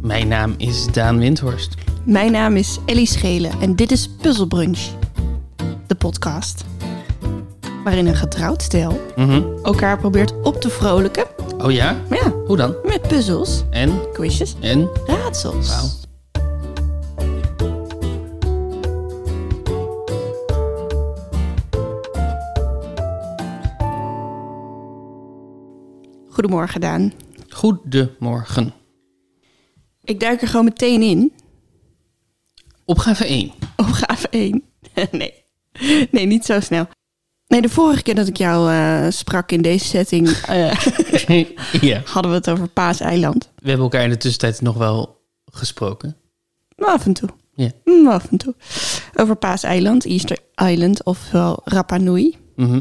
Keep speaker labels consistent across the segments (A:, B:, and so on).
A: Mijn naam is Daan Windhorst.
B: Mijn naam is Ellie Schelen en dit is Puzzle Brunch, de podcast. Waarin een getrouwd stel
A: Mhm.
B: elkaar probeert op te vrolijken.
A: Oh ja?
B: Ja,
A: Hoe dan?
B: met puzzels,
A: En?
B: quizjes,
A: En?
B: raadsels.
A: Wauw.
B: Goedemorgen, Daan.
A: Goedemorgen.
B: Ik duik er gewoon meteen in.
A: Opgave 1.
B: Opgave 1. nee. nee, niet zo snel. Nee, de vorige keer dat ik jou eh, sprak in deze setting eh,
A: ja.
B: hadden we het over Paaseiland.
A: We hebben elkaar in de tussentijd nog wel gesproken.
B: Maar af en toe.
A: Ja.
B: Mm, af en toe. Over Paaseiland, Easter Island, ofwel Rapa Nui.
A: Mhm.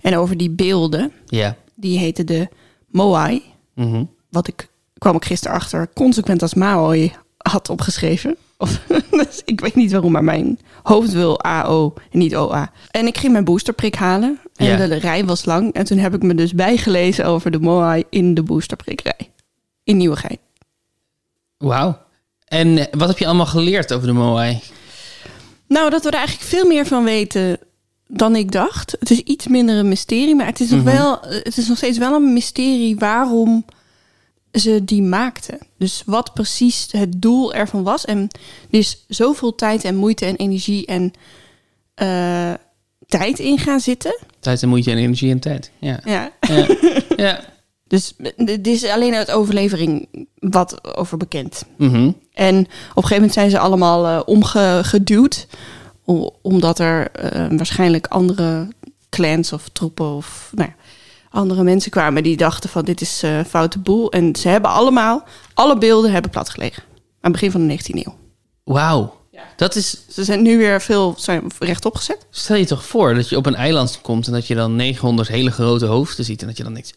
B: En over die beelden,
A: Ja.
B: die heten de Moai.
A: Mhm.
B: Wat ik, kwam ik gisteren achter, consequent als Maoi had opgeschreven. Of, dus ik weet niet waarom, maar mijn hoofd wil AO en niet OA. En ik ging mijn boosterprik halen. En
A: Ja.
B: de rij was lang. En toen heb ik me dus bijgelezen over de Moai in de boosterprikrij. In Nieuwegein.
A: Wauw. En eh, wat heb je allemaal geleerd over de Moai?
B: Nou, dat we er eigenlijk veel meer van weten dan ik dacht. Het is iets minder een mysterie, maar het is, nog wel, eh, het is nog steeds wel een mysterie waarom ze die maakten. Dus wat precies het doel ervan was. En er is zoveel tijd en moeite en energie en eh, tijd in gaan zitten.
A: Tijd en moeite en energie en tijd. Ja.
B: Ja.
A: Ja. ja.
B: Dus eh, dit is alleen uit overlevering wat over bekend.
A: Mhm.
B: En op een gegeven moment zijn ze allemaal eh, omgeduwd. o- Omdat er eh, waarschijnlijk andere clans of troepen of nou ja, andere mensen kwamen die dachten van dit is eh foute boel. En ze hebben allemaal, alle beelden hebben platgelegen. Aan het begin van de 19e eeuw.
A: Wauw. Dat is,
B: Ze zijn nu weer veel zijn rechtop gezet.
A: stel je toch voor dat je op een eiland komt en dat je dan 900 hele grote hoofden ziet en dat je dan denkt,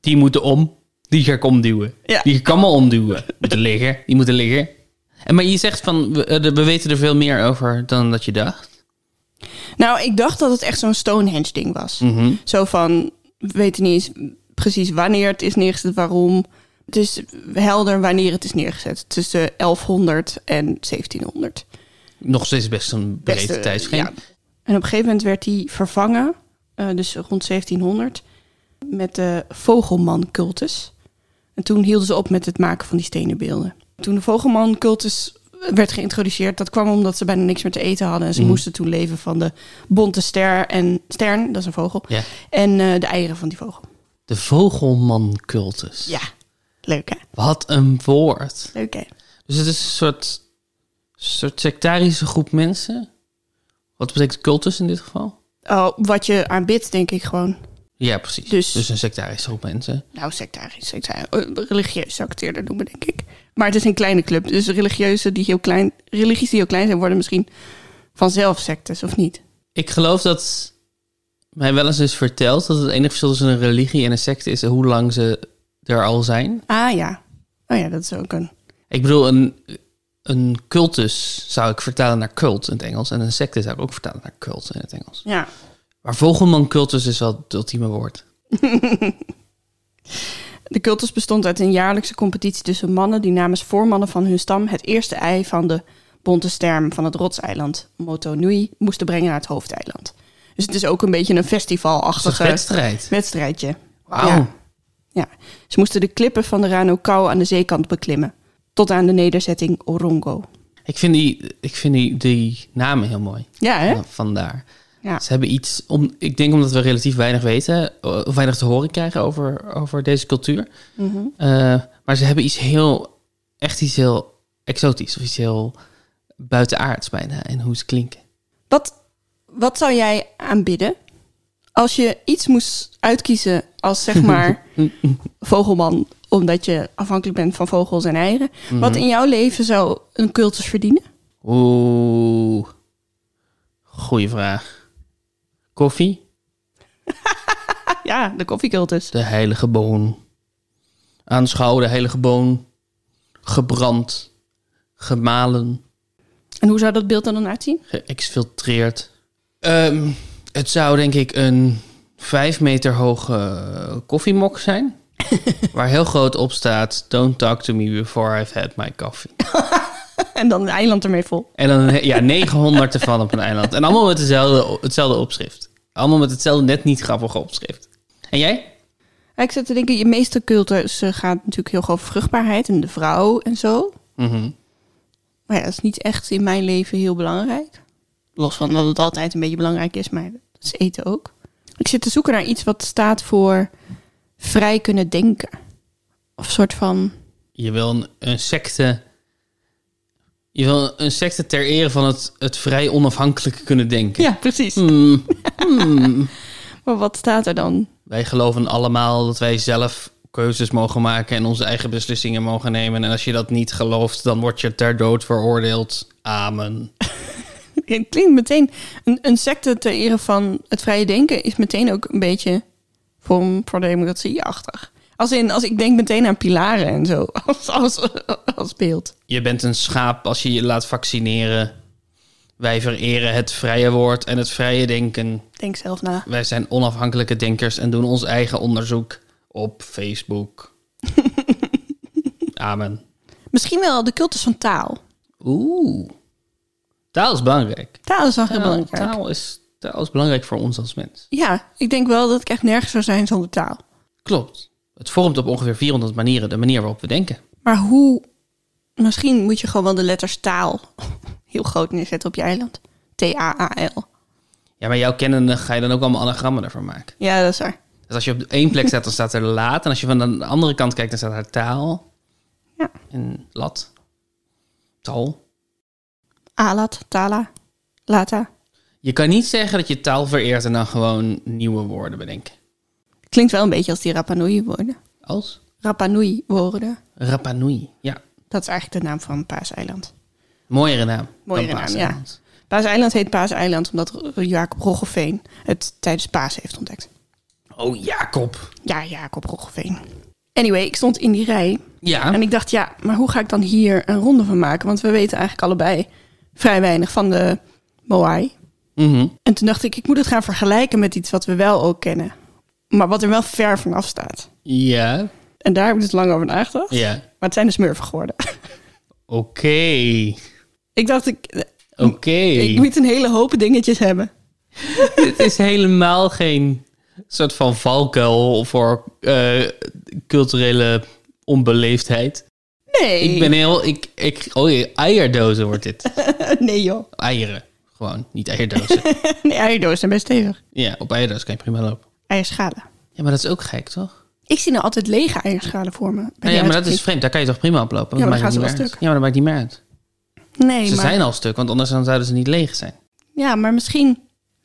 A: die moeten om, die ga ik omduwen.
B: Ja.
A: Die kan me omduwen. moeten liggen, die moeten liggen. En maar je zegt van, we, eh, we weten er veel meer over dan dat je dacht.
B: Nou, ik dacht dat het echt zo'n Stonehenge ding was. Zo van, we weten niet eens precies wanneer het is neergezet, waarom. Het is helder wanneer het is neergezet. Tussen 1100 en 1700.
A: Nog steeds best een brede
B: Beste,
A: tijdschijn.
B: ja. En op een gegeven moment werd die vervangen, eh, dus rond 1700, met de vogelman-cultus. En toen hielden ze op met het maken van die stenen beelden. Toen de vogelman-cultus werd geïntroduceerd, dat kwam omdat ze bijna niks meer te eten hadden. En ze moesten toen leven van de bonte ster en stern, dat is een vogel,
A: Ja.
B: en eh, de eieren van die vogel.
A: De vogelman-cultus.
B: Ja, leuk hè?
A: Wat een woord.
B: Leuk hè?
A: Dus het is een soort, soort sectarische groep mensen. Wat betekent cultus in dit geval?
B: Oh, wat je aanbidt, denk ik gewoon.
A: Ja, precies.
B: Dus-
A: dus een sectarische groep mensen.
B: Nou, sectarisch, sectarisch. eh, Religieus zou ik het eerder noemen, denk ik. Maar het is een kleine club. Dus religieuze die heel klein, religies die heel klein zijn, worden misschien vanzelf sectes, of niet?
A: Ik geloof dat mij wel eens is verteld dat het enige verschil tussen een religie en een secte is hoe lang ze er al zijn.
B: Ah ja. Oh ja, dat is ook een...
A: Ik bedoel, een, een cultus zou ik vertalen naar cult in het Engels. En een secte zou ik ook vertalen naar cult in het Engels.
B: Ja.
A: Maar vogelman cultus is wel het ultieme woord.
B: De cultus bestond uit een jaarlijkse competitie tussen mannen die namens voormannen van hun stam het eerste ei van de bonte sterm van het rotseiland Moto Nui moesten brengen naar het hoofdeiland. Dus het is ook een beetje een
A: Het is
B: festivalachtige
A: een wedstrijd.
B: wedstrijdje.
A: Wauw.
B: Ja. Ja, ze moesten de klippen van de Ranokau aan de zeekant beklimmen. Tot aan de nederzetting Orongo.
A: Ik vind, die, ik vind die, die namen heel mooi.
B: Ja, hè?
A: Van- Vandaar.
B: Ja.
A: Ze hebben iets, om, ik denk omdat we relatief weinig weten, eh, of weinig te horen krijgen over, over deze cultuur.
B: Mhm.
A: Eh, maar ze hebben iets heel, echt iets heel exotisch of iets heel buitenaards bijna en hoe ze klinken.
B: Wat, wat zou jij aanbidden als je iets moest uitkiezen als zeg maar vogelman, omdat je afhankelijk bent van vogels en eieren? Wat in jouw leven zou een cultus verdienen?
A: Oeh, goeie vraag. Koffie,
B: Ah, ja, de koffiecultus.
A: de heilige boon. Aanschouw de heilige boon. Gebrand, gemalen.
B: En hoe zou dat beeld er dan uitzien?
A: geëxfiltreerd. Ehm, het zou denk ik een vijf meter hoge eh, koffiemok zijn. waar heel groot op staat: Don't talk to me before I've had my coffee.
B: En dan een eiland ermee vol.
A: En dan he- ja, 900 ervan op een eiland. En allemaal met dezelfde, hetzelfde opschrift. Allemaal met hetzelfde, net niet grappige opschrift. En jij?
B: Ja, Ik zit te denken, je meeste cultus eh, gaat natuurlijk heel erg over vruchtbaarheid en de vrouw en zo.
A: Mhm.
B: Maar ja, dat is niet echt in mijn leven heel belangrijk. Los van dat het altijd een beetje belangrijk is, maar dat is eten ook. Ik zit te zoeken naar iets wat staat voor vrij kunnen denken. Of soort van...
A: Je wil een, een secte. Je wil een secte ter ere van het, het vrij onafhankelijk kunnen denken.
B: Ja, precies.
A: Hmm, hmm.
B: Maar wat staat er dan?
A: Wij geloven allemaal dat wij zelf keuzes mogen maken en onze eigen beslissingen mogen nemen. En als je dat niet gelooft, dan word je ter dood veroordeeld. Amen.
B: Het klinkt meteen... Een, een secte ter ere van het vrije denken is meteen ook een beetje voor, voor democratieachtig. Als in, als ik denk meteen aan pilaren en zo, als, als, als beeld.
A: Je bent een schaap als je je laat vaccineren. Wij vereren het vrije woord en het vrije denken.
B: Denk zelf na.
A: Wij zijn onafhankelijke denkers en doen ons eigen onderzoek op Facebook. Amen.
B: Misschien wel de cultus van taal.
A: Oeh. Taal is belangrijk.
B: Taal is wel heel
A: Taal,
B: belangrijk.
A: taal, is, taal is belangrijk voor ons als mens.
B: Ja, ik denk wel dat ik echt nergens zou zijn zonder taal.
A: Klopt. Het vormt op ongeveer 400 manieren de manier waarop we denken.
B: Maar hoe... Misschien moet je gewoon wel de letters taal heel groot neerzetten op je eiland. T-A-A-L.
A: Ja, maar jouw kennende ga je dan ook allemaal anagrammen ervan maken.
B: Ja, dat is waar.
A: Dus als je op de één plek staat, dan staat er laat. En als je van de andere kant kijkt, dan staat er taal.
B: Ja.
A: En lat. Tal.
B: Alat, tala, lata.
A: Je kan niet zeggen dat je taal vereert en dan gewoon nieuwe woorden bedenkt.
B: Klinkt wel een beetje als die Rapanui woorden.
A: Als?
B: Rapanui woorden.
A: Rapa Nui. Ja.
B: Dat is eigenlijk de naam van Paaseiland.
A: Mooiere naam.
B: Mooiere
A: dan
B: naam,
A: Paaseiland.
B: Paaseiland heet Paaseiland omdat R- Jacob Roggeveen het tijdens Paas heeft ontdekt.
A: Oh, Jacob.
B: Ja, Jacob Roggeveen. Anyway, ik stond in die rij
A: Ja.
B: En ik dacht, ja, maar hoe ga ik dan hier een ronde van maken? Want we weten eigenlijk allebei vrij weinig van de Moai.
A: Mhm.
B: En toen dacht ik, ik moet het gaan vergelijken met iets wat we wel ook kennen. Maar wat er wel ver vanaf staat.
A: Ja.
B: En daar heb ik dus lang over nagedacht.
A: Ja.
B: Maar het zijn de smurfen geworden.
A: Oké.
B: ik dacht, ik,
A: Oké.
B: ik moet een hele hoop dingetjes hebben.
A: Dit is helemaal geen soort van valkuil voor eh, culturele onbeleefdheid.
B: Nee.
A: Ik ben heel... Ik, ik, oh jee, eierdozen wordt dit.
B: nee joh.
A: Eieren. Gewoon, niet eierdozen.
B: Nee, eierdozen zijn best stevig.
A: ja, op eierdozen kan je prima lopen.
B: Eierschalen.
A: Ja, maar dat is ook gek, toch?
B: Ik zie nou altijd lege eierschalen voor me. bij die
A: Nee, Ah ja, maar dat is
B: uitdrukking.
A: vreemd. Daar kan je toch prima op lopen?
B: Ja, maar
A: Dat
B: dan
A: maakt niet
B: gaan ze wel
A: meer uit.
B: stuk.
A: Ja, maar dat maakt niet meer uit.
B: Nee,
A: Ze
B: maar,
A: zijn al stuk, want anders dan zouden ze niet leeg zijn.
B: ja, maar misschien,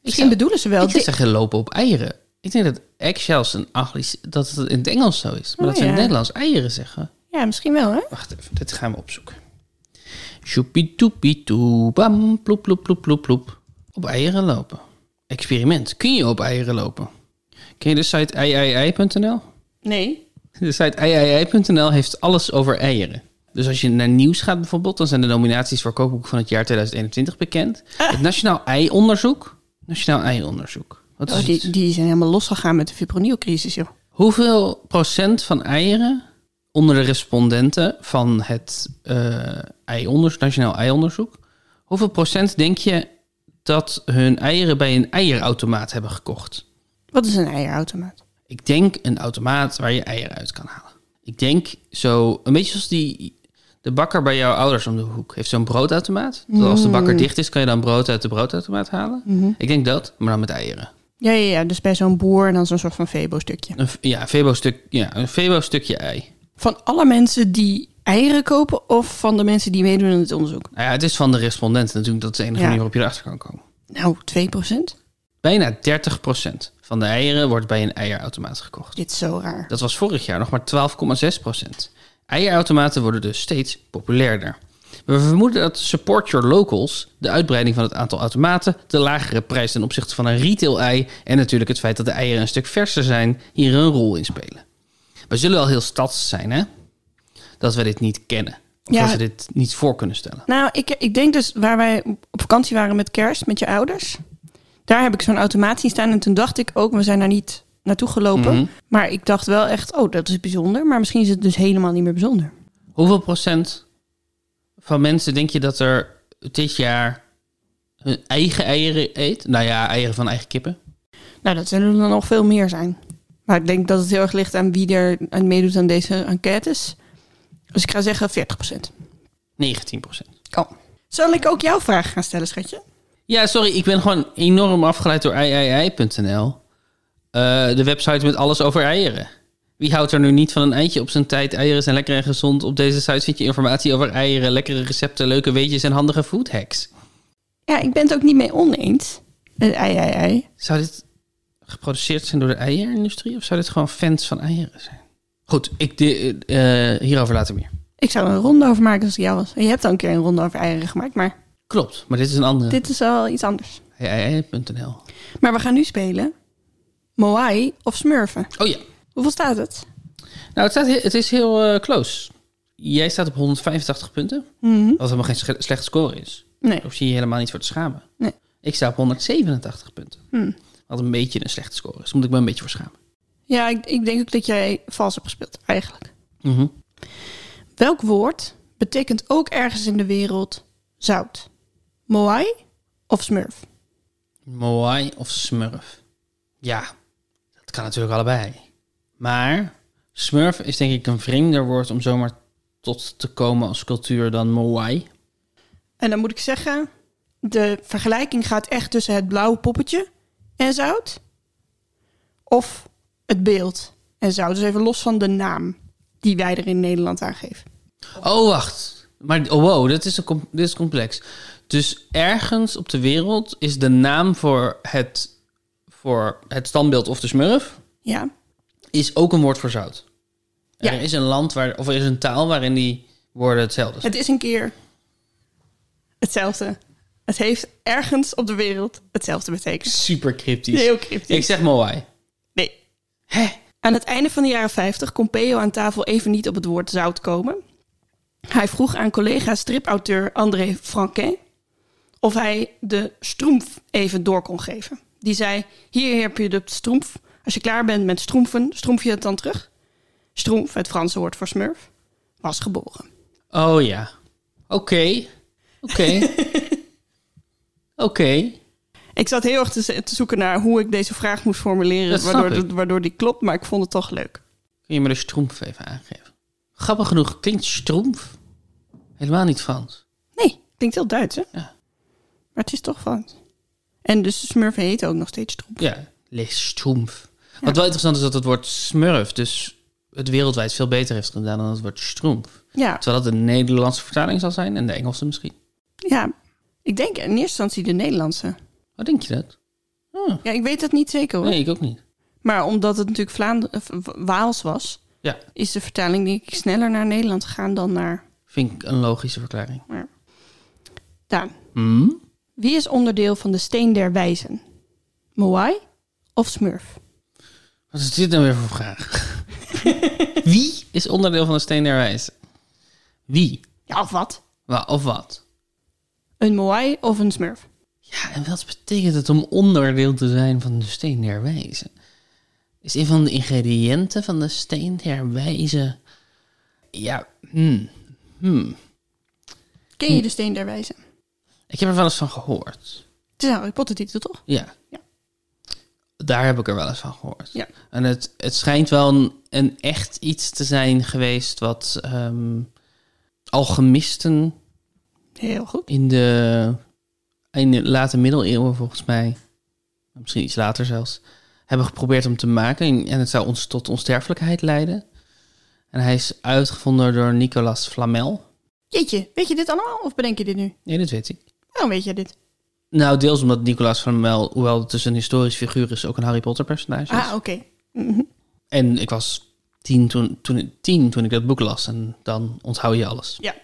B: misschien
A: zou-
B: bedoelen ze wel...
A: ik zou
B: di-
A: zeggen lopen op eieren. Ik denk dat eggshells en anglisch, dat het in het Engels zo is. Maar
B: Oh,
A: dat ze in het
B: ja.
A: Nederlands eieren zeggen.
B: Ja, misschien wel, hè?
A: Wacht even, dit gaan we opzoeken. Sjoepitoepitoe, bam, ploep, ploep, ploep, ploep, ploep. Op eieren lopen. Experiment. Kun je op eieren lopen? Ken je de site iii.nl?
B: Nee.
A: De site iii.nl heeft alles over eieren. Dus als je naar nieuws gaat bijvoorbeeld, dan zijn de nominaties voor kookboek van het jaar 2021 bekend.
B: Ah.
A: Het Nationaal Ei-onderzoek. Nationaal Ei-onderzoek. Wat is
B: Oh,
A: het?
B: die, die zijn helemaal losgegaan met de fipronilcrisis, joh.
A: Hoeveel procent van eieren onder de respondenten van het eh eionderzoek, Nationaal Eionderzoek, hoeveel procent denk je dat hun eieren bij een eierautomaat hebben gekocht?
B: Wat is een eierautomaat?
A: Ik denk een automaat waar je eieren uit kan halen. Ik denk zo, een beetje zoals die, de bakker bij jouw ouders om de hoek heeft zo'n broodautomaat. Dat als de bakker dicht is, kan je dan brood uit de broodautomaat halen. Ik denk dat, maar dan met eieren.
B: Ja, ja, ja. Dus bij zo'n boer en dan zo'n soort van febo-stukje.
A: Een, v- ja, Febo stuk, ja, een Febo stukje ei.
B: Van alle mensen die eieren kopen of van de mensen die meedoen aan het onderzoek?
A: Nou ja, het is van de respondenten natuurlijk. Dat is de enige
B: Ja.
A: manier waarop je erachter kan komen.
B: Nou, 2%?
A: Bijna 30% van de eieren wordt bij een eierautomaat gekocht.
B: Dit is zo raar.
A: Dat was vorig jaar nog maar 12,6%. Eierautomaten worden dus steeds populairder. We vermoeden dat Support Your Locals, de uitbreiding van het aantal automaten, de lagere prijs ten opzichte van een retail-ei en natuurlijk het feit dat de eieren een stuk verser zijn, hier een rol in spelen. We zullen wel heel stads zijn, hè? Dat we dit niet kennen. Of
B: Ja.
A: dat we dit niet voor kunnen stellen.
B: Nou, ik, ik denk dus waar wij op vakantie waren met kerst, met je ouders. Daar heb ik zo'n automaat zien staan. En toen dacht ik ook, we zijn daar niet naartoe gelopen.
A: Mhm.
B: Maar ik dacht wel echt, oh, dat is bijzonder. Maar misschien is het dus helemaal niet meer bijzonder.
A: Hoeveel procent van mensen denk je dat er dit jaar hun eigen eieren eet? Nou ja, eieren van eigen kippen.
B: Nou, dat zullen er dan nog veel meer zijn. Maar ik denk dat het heel erg ligt aan wie er aan meedoet aan deze enquêtes. Dus ik ga zeggen 40%.
A: 19 procent.
B: Oh. Zal ik ook jouw vraag gaan stellen, schatje?
A: Ja, sorry, ik ben gewoon enorm afgeleid door iiii.nl. Eh, de website met alles over eieren. Wie houdt er nu niet van een eitje op zijn tijd? Eieren zijn lekker en gezond. Op deze site vind je informatie over eieren, lekkere recepten, leuke weetjes en handige food hacks.
B: Ja, ik ben het ook niet mee oneens. Eh, Ei, ei, ei.
A: Zou dit geproduceerd zijn door de eierindustrie of zou dit gewoon fans van eieren zijn? Goed, ik de, eh, hierover later meer.
B: Ik zou er een ronde over maken als ik jou was. Je hebt al een keer een ronde over eieren gemaakt, maar
A: Klopt, maar dit is een andere.
B: dit is al iets anders.
A: Eieren.nl.
B: Maar we gaan nu spelen Moai of Smurfen.
A: Oh ja.
B: Hoeveel staat het?
A: Nou, het, staat, he- het is heel eh, close. Jij staat op 185 punten.
B: Mhm.
A: Wat helemaal geen sche- slechte score is.
B: Nee.
A: Daar hoef je je helemaal niet voor te schamen.
B: Nee. Mhm.
A: Ik sta op 187 punten. Wat een beetje een slechte score is. Daar moet ik me een beetje voor schamen.
B: Ja, ik, ik denk ook dat jij vals hebt gespeeld, eigenlijk.
A: Mhm.
B: Welk woord betekent ook ergens in de wereld zout? Moai of smurf?
A: Moai of Smurf? Ja, dat kan natuurlijk allebei. Maar Smurf is denk ik een vreemder woord om zomaar tot te komen als cultuur dan Moai.
B: En dan moet ik zeggen, de vergelijking gaat echt tussen het blauwe poppetje en zout. Of het beeld en zout. Dus even los van de naam die wij er in Nederland aan geven.
A: Oh, wacht. Maar oh, wow, dit is, een com- dit is complex. Dus ergens op de wereld is de naam voor het, voor het standbeeld of de smurf...
B: Ja,
A: is ook een woord voor zout. En
B: Ja.
A: Er is een land waar, of er is een taal waarin die woorden hetzelfde zijn.
B: het is een keer hetzelfde. Het heeft ergens op de wereld hetzelfde betekenis.
A: Super cryptisch.
B: Heel cryptisch.
A: Ik zeg Moai.
B: Nee.
A: Hè?
B: Aan het einde van de jaren 50 kon Peo aan tafel even niet op het woord zout komen. Hij vroeg aan collega stripauteur André Franquin of hij de stroemf even door kon geven. Die zei, hier heb je de stroemf. Als je klaar bent met stroemfen, stroemf je het dan terug. Stroemf, het Franse woord voor smurf, was geboren.
A: Oh ja. Oké. Oké. Oké.
B: Ik zat heel erg te, z- te zoeken naar hoe ik deze vraag moest formuleren,
A: Dat snap
B: waardoor,
A: ik.
B: waardoor die klopt, maar ik vond het toch leuk.
A: Kun je me de stroemf even aangeven? Grappig genoeg klinkt stroemf helemaal niet Frans.
B: Nee, klinkt heel Duits, hè?
A: Ja.
B: Maar het is toch Frans. En dus de smurf heet ook nog steeds stroemf.
A: Ja, les stroemf. Wat wel interessant is dat het woord smurf dus het wereldwijd veel beter heeft gedaan dan het woord stroemf.
B: Ja,
A: Terwijl dat de Nederlandse vertaling zal zijn en de Engelse misschien.
B: ja, ik denk in eerste instantie de Nederlandse.
A: Wat denk je dat? Huh.
B: Ja, ik weet dat niet zeker hoor.
A: Nee, ik ook niet.
B: Maar omdat het natuurlijk Vlaand of W- Waals was,
A: Ja,
B: is de vertaling denk ik sneller naar Nederland gegaan dan naar...
A: vind ik een logische verklaring.
B: Maar... Daan,
A: Hm?
B: wie is onderdeel van de Steen der Wijzen? Moai of Smurf?
A: Wat is dit nou weer voor vraag? Wie is onderdeel van de steen der wijze? Wie?
B: Ja, of wat?
A: Wa- Of wat?
B: Een Moai of een Smurf?
A: Ja, en wat betekent het om onderdeel te zijn van de steen der wijze? Is een van de ingrediënten van de steen der wijze... Ja, hmm, hmm.
B: Ken je de Steen der Wijzen?
A: Ik heb er wel eens van gehoord.
B: Het is een Harry Potter titel, toch?
A: Ja.
B: Ja.
A: Daar heb ik er wel eens van gehoord.
B: Ja.
A: En het, het schijnt wel een, een echt iets te zijn geweest wat ehm, alchemisten
B: Heel goed.
A: in de, in de late middeleeuwen volgens mij, misschien iets later zelfs, hebben geprobeerd om te maken. En het zou ons tot onsterfelijkheid leiden. En hij is uitgevonden door Nicolas Flamel.
B: Jeetje, weet je dit allemaal of bedenk je dit nu?
A: Nee, dat weet ik.
B: Waarom Oh, weet je dit?
A: Nou, deels omdat Nicolas Flamel, hoewel het dus een historisch figuur is, ook een Harry Potter personage is.
B: Ah, oké.
A: En ik was tien toen, toen, tien toen ik dat boek las. En dan onthoud je alles.
B: Ja.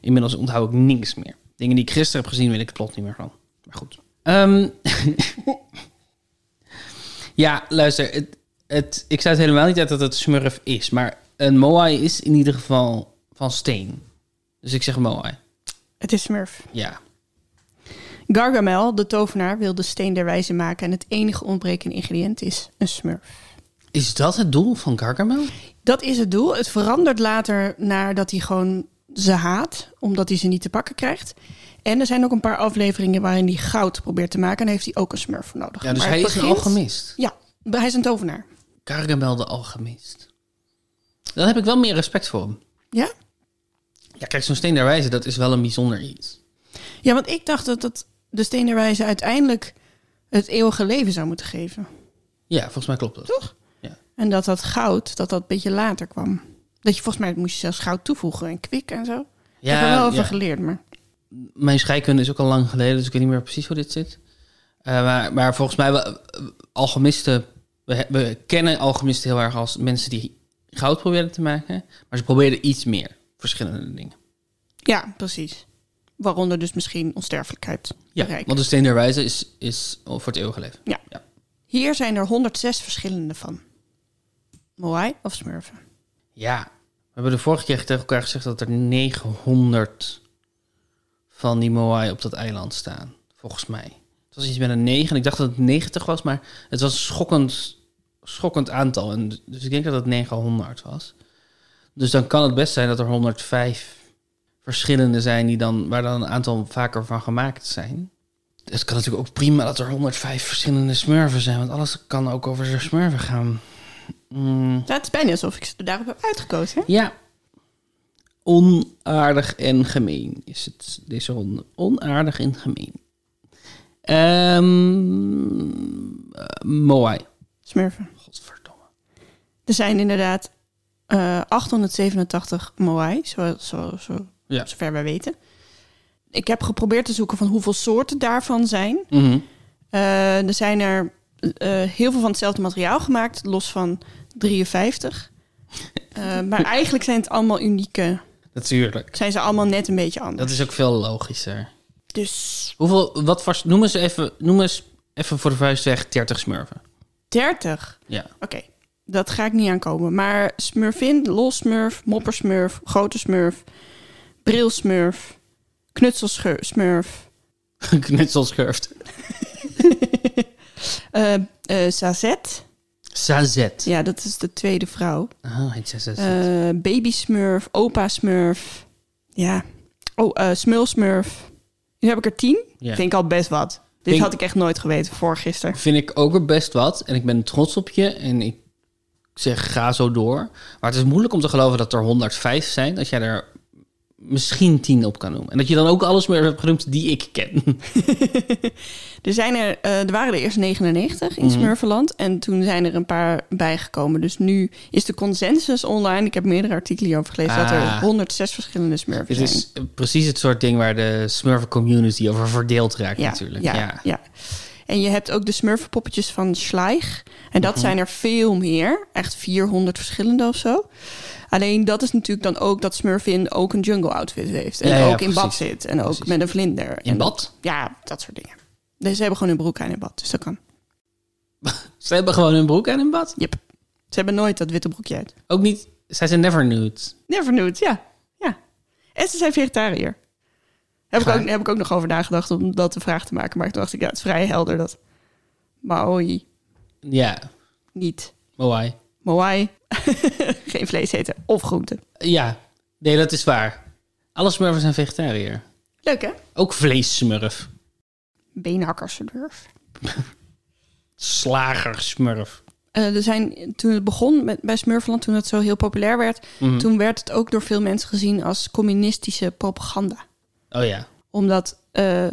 A: Inmiddels onthoud ik niks meer. Dingen die ik gisteren heb gezien, weet ik het plot niet meer van. Maar goed. Ehm, ja, luister. Het, het, ik sluit helemaal niet uit dat het smurf is. Maar een moai is in ieder geval van steen. Dus ik zeg moai.
B: Het is Smurf.
A: Ja.
B: Gargamel, de tovenaar, wil de steen der wijze maken en het enige ontbrekende ingrediënt is een smurf.
A: Is dat het doel van Gargamel?
B: Dat is het doel. Het verandert later naar dat hij gewoon ze haat, omdat hij ze niet te pakken krijgt. En er zijn ook een paar afleveringen waarin hij goud probeert te maken en daar heeft hij ook een smurf voor nodig.
A: Ja, dus
B: Maar
A: hij
B: het
A: is een
B: begint-
A: alchemist.
B: Ja, hij is een tovenaar.
A: Gargamel de alchemist. Dan heb ik wel meer respect voor hem.
B: Ja?
A: Ja, kijk, zo'n steen der wijze, dat is wel een bijzonder iets.
B: Ja, want ik dacht dat, dat de steen der wijze uiteindelijk het eeuwige leven zou moeten geven.
A: Ja, volgens mij klopt dat.
B: Toch?
A: Ja.
B: En dat dat goud, dat dat een beetje later kwam. Dat je volgens mij moest je zelfs goud toevoegen en kwik en zo. ik heb er wel
A: Ja,
B: over
A: ja.
B: geleerd, maar...
A: mijn scheikunde is ook al lang geleden, dus ik weet niet meer precies hoe dit zit. Eh, maar, maar volgens mij, we- alchemisten, we, he- we kennen alchemisten heel erg als mensen die goud proberen te maken. Maar ze proberen iets meer, verschillende dingen.
B: Ja, precies. Waaronder dus misschien onsterfelijkheid
A: Ja,
B: bereiken.
A: want de steen der wijze is, is voor het eeuwige leven.
B: Ja.
A: Ja.
B: Hier zijn er 106 verschillende van. Moai of smurfen?
A: Ja, we hebben de vorige keer tegen elkaar gezegd dat er 900 van die Moai op dat eiland staan, volgens mij. Het was iets met een 9 ik dacht dat het 90 was, maar het was een schokkend, schokkend aantal. En d- dus ik denk dat het 900 was. Dus dan kan het best zijn dat er 105 verschillende zijn die dan, waar dan een aantal vaker van gemaakt zijn. Het kan natuurlijk ook prima dat er 105 verschillende smurven zijn, want alles kan ook over de smurven gaan. Mm.
B: Nou, het is bijna alsof ik ze daarop heb uitgekozen. hè?
A: Ja. Onaardig en gemeen is het deze ronde. Onaardig en gemeen. Ehm eh, Moai.
B: Smurfen.
A: Godverdomme.
B: Er zijn inderdaad eh, 887 moai, zo, zo, zo,
A: Ja.
B: zover wij weten. Ik heb geprobeerd te zoeken van hoeveel soorten daarvan zijn.
A: Mhm.
B: Eh, er zijn er eh, heel veel van hetzelfde materiaal gemaakt, los van 53. Eh, maar eigenlijk zijn het allemaal unieke.
A: Natuurlijk.
B: Zijn ze allemaal net een beetje anders.
A: Dat is ook veel logischer.
B: Dus
A: Hoeveel, wat was, noem eens even, noem eens even voor de vuist weg 30 smurfen.
B: 30.
A: Ja.
B: Oké, dat ga ik niet aankomen. Maar smurfin, los smurf, moppersmurf, grote smurf, brilsmurf, knutselsmurf,
A: Knutselschurft.
B: eh eh zazet.
A: Sazet.
B: Ja, dat is de tweede vrouw.
A: Ah, oh, heet Sazet.
B: Eh baby smurf, opa smurf. Ja. Oh, eh smulsmurf. Nu heb ik er tien.
A: Ja.
B: Vind ik al best wat. Dit
A: Vind-
B: had ik echt nooit geweten voor gisteren.
A: vind ik ook er best wat. En ik ben trots op je. En ik zeg, ga zo door. Maar het is moeilijk om te geloven dat er 105 zijn. Dat jij er misschien 10 op kan noemen. En dat je dan ook alles meer hebt genoemd die ik ken.
B: Er, zijn er, eh, er waren er eerst 99
A: Mhm.
B: in Smurfeland. En toen zijn er een paar bijgekomen. Dus nu is de consensus online. Ik heb meerdere artikelen hierover gelezen. Dat er
A: Ah.
B: 106 verschillende
A: Dit
B: Smurfen zijn.
A: is precies het soort ding waar de Smurf community over verdeeld raakt
B: ja,
A: natuurlijk.
B: Ja, ja. En je hebt ook de Smurfenpoppetjes van Schleich. En
A: Mhm.
B: dat zijn er veel meer. Echt 400 verschillende of zo. Alleen dat is natuurlijk dan ook dat Smurfin ook een jungle outfit heeft. En
A: Ja, ja,
B: ook in bad
A: precies.
B: zit. En ook
A: Precies.
B: met een vlinder.
A: In
B: En-
A: bad?
B: Ja, dat soort dingen. Dus ze hebben gewoon hun broek aan in bad. Dus dat kan.
A: Ze hebben gewoon hun broek aan in bad.
B: Yep. Ze hebben nooit dat witte broekje uit.
A: Ook niet... Zij zijn never nude.
B: Never knew it, ja. ja. En ze zijn vegetariër. Heb ik,
A: Gaar.
B: ook, heb ik ook nog over nagedacht om dat de vraag te maken. Maar toen dacht ik, ja, het is vrij helder dat Maui
A: Ja.
B: niet.
A: Moai.
B: Moai, geen vlees eten of groenten.
A: Ja. Nee, dat is waar. Alle smurfen zijn vegetariër.
B: Leuk, hè?
A: Ook vleessmurf.
B: Beenhakkersdurf.
A: Slagersmurf.
B: Eh er zijn, toen het begon met, bij Smurfland, toen het zo heel populair werd...
A: Mhm.
B: toen werd het ook door veel mensen gezien als communistische propaganda.
A: Oh ja.
B: Omdat eh,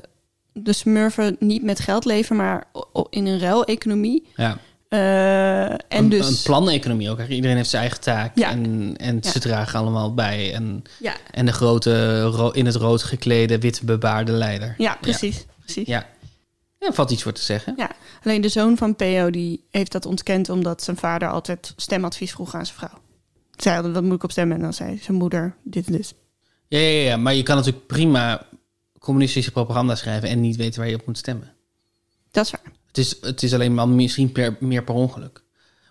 B: de Smurfen niet met geld leven, maar o- o- in een ruileconomie.
A: Ja.
B: Eh, en
A: een,
B: dus...
A: een planeconomie ook. eigenlijk. Iedereen heeft zijn eigen taak
B: Ja.
A: en, en
B: Ja.
A: ze dragen allemaal bij. En,
B: Ja,
A: en de grote, ro- in het rood geklede, wit bebaarde leider.
B: ja precies. precies. Ja.
A: Ja. ja, valt iets voor te zeggen.
B: Alleen de zoon van Peo die heeft dat ontkend omdat zijn vader altijd stemadvies vroeg aan zijn vrouw. Zij hadden, wat moet ik op stemmen? En dan zei zijn moeder dit dus." en dit.
A: Ja, ja, ja, maar je kan natuurlijk prima communistische propaganda schrijven en niet weten waar je op moet stemmen.
B: Dat is waar.
A: Het is, het is alleen maar misschien per, meer per ongeluk.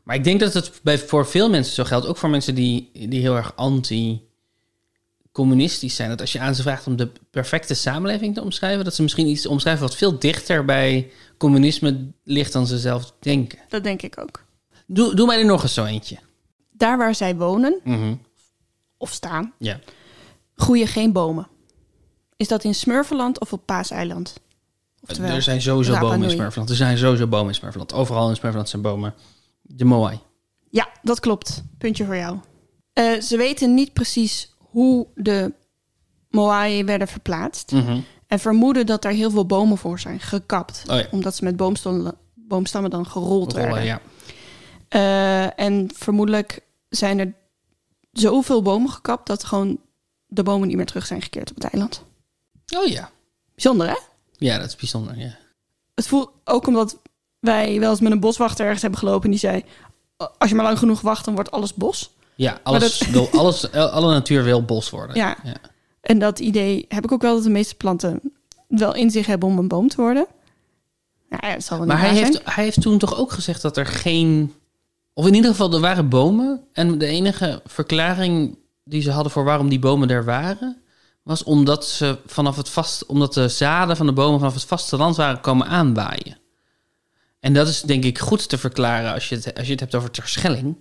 A: Maar ik denk dat het bij, voor veel mensen zo geldt. Ook voor mensen die, die heel erg anti communistisch zijn. Dat als je aan ze vraagt om de perfecte samenleving te omschrijven, dat ze misschien iets omschrijven wat veel dichter bij communisme ligt dan ze zelf denken.
B: Dat denk ik ook.
A: Doe, doe mij er nog eens zo eentje.
B: Daar waar zij wonen
A: Mhm.
B: of staan,
A: Ja.
B: groeien geen bomen. Is dat in Smurfeland of op Paaseiland? Oftewel,
A: er zijn sowieso
B: Rapa
A: bomen in
B: Nui.
A: Smurfland. Er zijn sowieso bomen in Smurfland. Overal in Smurfland zijn bomen. De Moai.
B: Ja, dat klopt. Puntje voor jou. Eh, ze weten niet precies hoe de Moai werden verplaatst.
A: Mhm.
B: En vermoeden dat daar heel veel bomen voor zijn gekapt.
A: Oh ja.
B: Omdat ze met boomstammen, boomstammen dan gerold
A: Rollen,
B: werden.
A: ja.
B: Eh, en vermoedelijk zijn er zoveel bomen gekapt... dat gewoon de bomen niet meer terug zijn gekeerd op het eiland.
A: Oh ja.
B: Bijzonder, hè?
A: Ja, dat is bijzonder. Ja.
B: Het voelt ook omdat wij wel eens met een boswachter ergens hebben gelopen... en die zei, als je maar lang genoeg wacht, dan wordt alles bos.
A: Ja, alles
B: dat-
A: wil, alles, alle natuur wil bos worden.
B: Ja. En dat idee heb ik ook wel dat de meeste planten wel in zich hebben om een boom te worden. Nou ja, dat zal wel
A: Maar
B: niet
A: hij
B: waar
A: heeft,
B: zijn.
A: hij heeft toen toch ook gezegd dat er geen... Of in ieder geval, er waren bomen. En de enige verklaring die ze hadden voor waarom die bomen er waren... was omdat, ze vanaf het vast, omdat de zaden van de bomen vanaf het vasteland waren komen aanwaaien. En dat is denk ik goed te verklaren als je het, als je het hebt over Terschelling.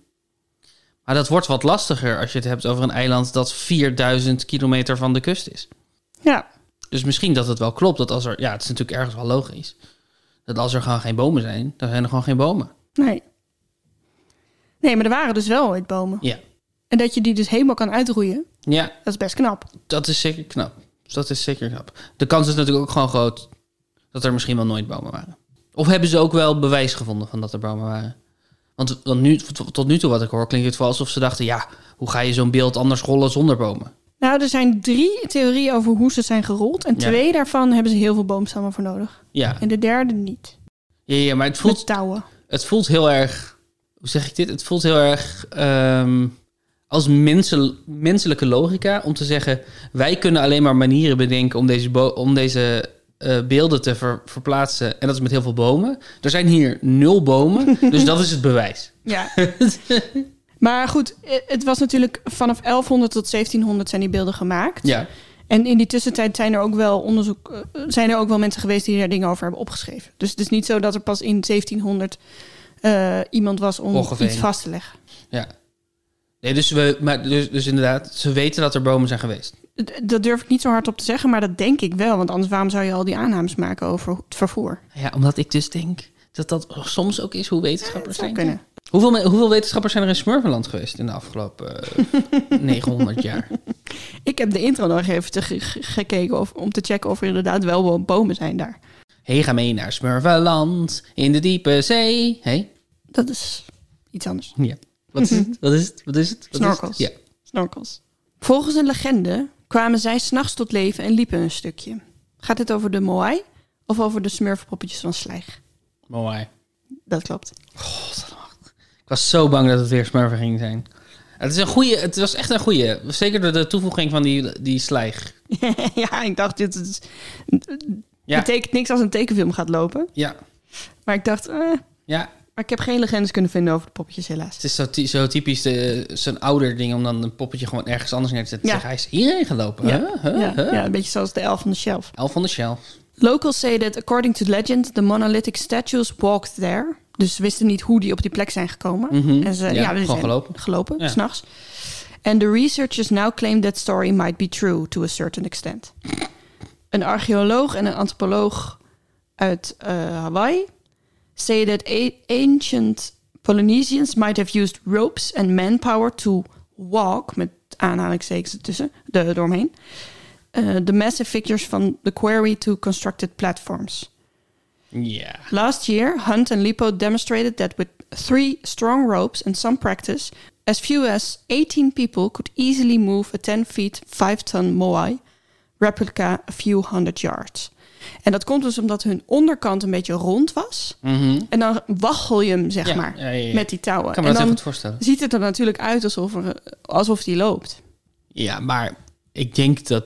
A: Maar dat wordt wat lastiger als je het hebt over een eiland dat 4000 kilometer van de kust is.
B: Ja,
A: Dus misschien dat het wel klopt dat als er. Ja, het is natuurlijk ergens wel logisch. Dat als er gewoon geen bomen zijn, dan zijn er gewoon geen bomen.
B: nee. Nee, maar er waren dus wel ooit bomen.
A: Ja.
B: En dat je die dus helemaal kan uitroeien,
A: Ja,
B: dat is best knap.
A: dat is zeker knap. Dus Dat is zeker knap. De kans is natuurlijk ook gewoon groot dat er misschien wel nooit bomen waren. Of hebben ze ook wel bewijs gevonden van dat er bomen waren? Want, want nu, tot nu toe wat ik hoor, klinkt het wel alsof ze dachten: ja, hoe ga je zo'n beeld anders rollen zonder bomen?
B: Nou, er zijn drie theorieën over hoe ze zijn gerold. En
A: Ja.
B: twee daarvan hebben ze heel veel boomstammen voor nodig.
A: Ja,
B: En de derde niet.
A: ja, ja maar het voelt
B: Met touwen.
A: het voelt heel erg. Hoe zeg ik dit? Het voelt heel erg ehm, als mensen, menselijke logica om te zeggen: wij kunnen alleen maar manieren bedenken om deze, bo- om deze eh, beelden te ver- verplaatsen. En dat is met heel veel bomen. Er zijn hier nul bomen, dus dat is het bewijs.
B: Ja. maar goed, eh, het was natuurlijk vanaf 1100 tot 1700 zijn die beelden gemaakt.
A: Ja,
B: En in die tussentijd zijn er ook wel onderzoek, eh, zijn er ook wel mensen geweest die daar dingen over hebben opgeschreven. Dus het is niet zo dat er pas in 1700 eh, iemand was om
A: Ongeveer.
B: iets vast te leggen.
A: ja. Nee, dus, we, maar dus, dus inderdaad, ze weten dat er bomen zijn geweest.
B: D- Dat durf ik niet zo hard op te zeggen, maar dat denk ik wel. Want anders waarom zou je al die aannames maken over het vervoer?
A: Ja, omdat ik dus denk dat dat soms ook is hoe
B: Dat
A: wetenschappers
B: zou
A: denken.
B: kunnen.
A: Hoeveel, me- hoeveel wetenschappers zijn er in Smurfenland geweest in de afgelopen eh, 900 jaar?
B: Ik heb de intro nog even te ge- ge- gekeken of, om te checken of er inderdaad wel wel bomen zijn daar.
A: Hey, ga mee naar Smurfenland in de diepe zee. Hey?
B: Dat is iets anders.
A: Ja. Wat is het? Wat is het? Wat is het? Wat is het?
B: Snorkels.
A: Ja.
B: Snorkels. Volgens een legende kwamen zij s'nachts tot leven en liepen een stukje. Gaat het over de Moai of over de smurfpoppetjes van Slijg?
A: Mooi.
B: Dat klopt.
A: Ik was zo bang dat het weer Smurfen ging zijn. Het, is een goeie, het was echt een goeie. Zeker door de toevoeging van die, die slijg.
B: ja, ik dacht, dit is,
A: Ja.
B: betekent niks als een tekenfilm gaat lopen.
A: Ja.
B: Maar ik dacht, eh,
A: Ja.
B: maar ik heb geen legendes kunnen vinden over de poppetjes helaas.
A: Het is zo, ty- zo typisch de- zo'n ouder ding om dan een poppetje gewoon ergens anders neer te zetten.
B: Ja.
A: Zeg, hij is hierheen gelopen.
B: Ja.
A: Huh? Huh?
B: Ja,
A: Huh?
B: ja, een beetje zoals de elf van de shelf.
A: Elf van de shelf.
B: Locals say that according to legend, the monolithic statues walked there. Dus ze wisten niet hoe die op die plek zijn gekomen.
A: Mhm.
B: En ze,
A: Ja,
B: ja, we
A: gewoon
B: zijn
A: gelopen.
B: Gelopen,
A: Ja.
B: s'nachts. And the researchers now claim that story might be true to a certain extent. Een archeoloog en een antropoloog uit eh, Hawaii say that a- ancient Polynesians might have used ropes and manpower to walk, met aanhalingstekens ertussen, de, eromheen, eh, the massive figures from the quarry to constructed platforms.
A: Ja.
B: Last year, Hunt and Lipo demonstrated that with three strong ropes and some practice, as few as 18 people could easily move a 10 feet 5 ton moai replica a few hundred yards. En dat komt dus omdat hun onderkant een beetje rond was. En dan waggel je hem, zeg
A: Mhm. Ja,
B: maar,
A: ja, ja, ja.
B: met die touwen.
A: Ik kan me
B: en
A: dat
B: dan
A: even goed voorstellen.
B: ziet het er natuurlijk uit alsof, er, alsof die loopt.
A: Ja, maar ik denk dat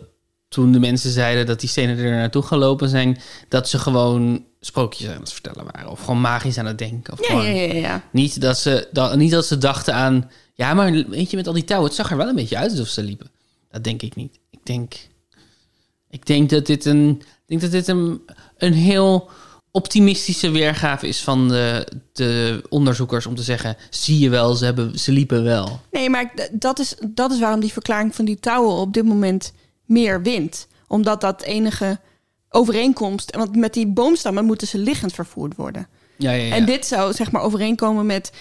A: toen de mensen zeiden dat die stenen er naartoe gelopen zijn, dat ze gewoon sprookjes aan het vertellen waren. Of gewoon magisch aan het denken. Of
B: Ja,
A: gewoon
B: ja, ja, ja.
A: Niet, dat ze, dat, niet dat ze dachten aan, ja, maar weet je, met al die touwen, het zag er wel een beetje uit alsof ze liepen. Dat Dat denk ik niet. Ik denk, ik denk dat dit een, ik denk dat dit een, een heel optimistische weergave is van de, de onderzoekers om te zeggen: zie je wel, ze, hebben, ze liepen wel.
B: Nee, maar ik- dat is, dat is waarom die verklaring van die touwen op dit moment meer wint. Omdat dat enige overeenkomst... Want met die boomstammen moeten ze liggend vervoerd worden.
A: Ja, ja, ja.
B: En dit zou zeg maar overeenkomen met...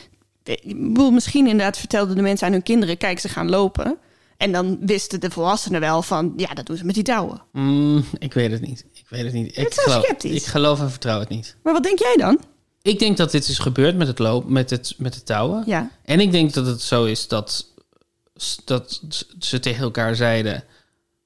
B: eh, Ik bedoel, misschien inderdaad vertelden de mensen aan hun kinderen... kijk, ze gaan lopen. En dan wisten de volwassenen wel van... ja, dat doen ze met die touwen.
A: Mm, ik weet het niet. Ik weet het niet. Ik
B: bent zo
A: geloof,
B: sceptisch.
A: ik geloof en vertrouw het niet.
B: Maar wat denk jij dan?
A: Ik denk dat dit is gebeurd met het loop, met het met de touwen.
B: Ja.
A: En ik denk dat het zo is dat, dat ze tegen elkaar zeiden: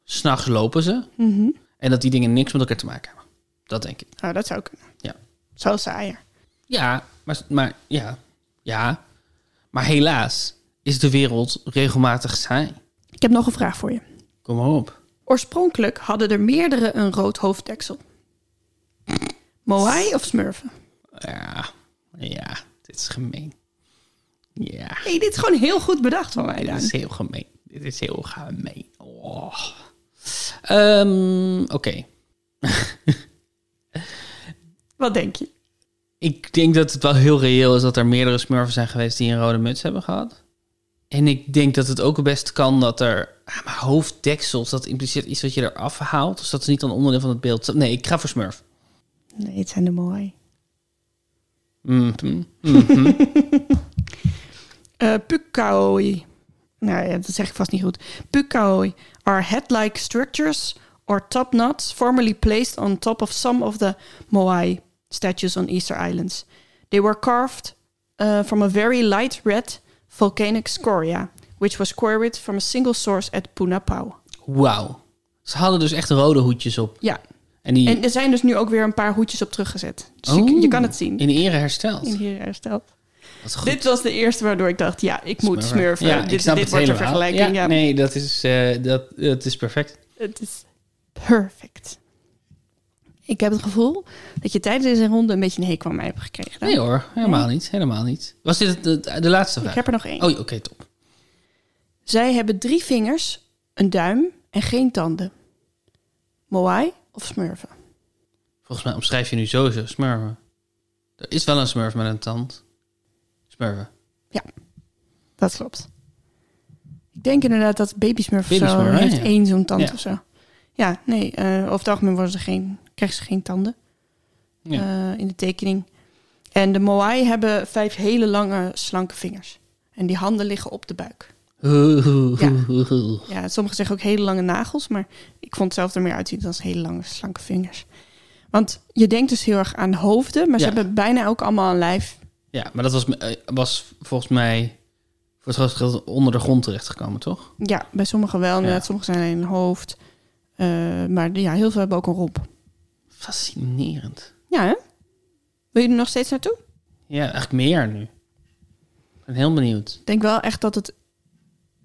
A: s'nachts lopen ze.
B: Mhm.
A: En dat die dingen niks met elkaar te maken hebben. Dat denk ik.
B: Nou, dat zou kunnen.
A: Ja.
B: Zo saaier.
A: Ja, maar, maar ja. Ja. Maar helaas is de wereld regelmatig saai.
B: Ik heb nog een vraag voor je.
A: Kom maar op.
B: Oorspronkelijk hadden er meerdere een rood hoofddeksel. Moai of smurfen?
A: Ja. Ja. Dit is gemeen. Ja.
B: Hey, dit is gewoon heel goed bedacht van mij, Daan.
A: Dit is heel gemeen. Dit is heel gemeen. Oh. Ehm, Oké.
B: Wat denk je?
A: Ik denk dat het wel heel reëel is dat er meerdere smurfen zijn geweest die een rode muts hebben gehad. En ik denk dat het ook best kan dat er. Ah, maar hoofddeksels, dat impliceert iets wat je eraf haalt. Dus dat is niet dan onderdeel van het beeld. Nee, ik ga voor smurf.
B: Nee, het zijn de moai.
A: Mhm.
B: Eh pukaoi. Nou ja, dat zeg ik vast niet goed. Pukaoi are head-like structures or top knots formerly placed on top of some of the Moai statues on Easter Islands. They were carved uh, from a very light red volcanic scoria, which was quarried from a single source at Punapau.
A: Wauw. Ze hadden dus echt rode hoedjes op.
B: Ja,
A: En die
B: en er zijn dus nu ook weer een paar hoedjes op teruggezet. Dus je, je
A: Oh.
B: kan het zien.
A: in ere hersteld.
B: In hier hersteld.
A: Wat goed.
B: Dit was de eerste waardoor ik dacht, ja, ik moet smurfen.
A: Ja, ik
B: dit
A: snap
B: dit
A: het
B: wordt een
A: helemaal.
B: vergelijking.
A: Ja,
B: ja.
A: Nee, dat is, eh, dat, dat is perfect.
B: Het is perfect. Ik heb het gevoel dat je tijdens deze ronde een beetje een hekel aan mij hebt gekregen. Dan.
A: Nee hoor, helemaal niet. Helemaal niet. Was dit het- de, de laatste
B: ik
A: vraag?
B: heb er nog één.
A: Oh, oké, top.
B: Zij hebben drie vingers, een duim en geen tanden. Moai of smurfen?
A: Volgens mij omschrijf je nu sowieso smurven. Er is wel een smurf met een tand. Smurven.
B: Ja, dat klopt. Ik denk inderdaad dat baby smurf of
A: Baby
B: zo
A: smurf,
B: heeft
A: ja.
B: één zo'n tand
A: Ja.
B: of zo. Ja, nee, eh, over het algemeen worden ze geen, krijgen ze geen tanden
A: Ja.
B: eh, in de tekening. En de moai hebben vijf hele lange, slanke vingers. En die handen liggen op de buik. Eh, Ja, sommigen zeggen ook hele lange nagels, maar ik vond het zelf er meer uitzien dan hele lange slanke vingers. Want je denkt dus heel erg aan hoofden, maar ze
A: Ja.
B: hebben bijna ook allemaal een lijf.
A: ja, maar dat was, eh, was volgens mij voor het grootste gedeelte onder de grond terechtgekomen, toch?
B: Ja, bij sommigen wel inderdaad.
A: Ja.
B: Sommigen zijn alleen een hoofd. Eh, maar ja, heel veel hebben ook een romp.
A: Fascinerend.
B: Ja, hè? Wil je er nog steeds naartoe?
A: Ja, echt meer nu. Ik ben heel benieuwd.
B: Ik denk wel echt dat het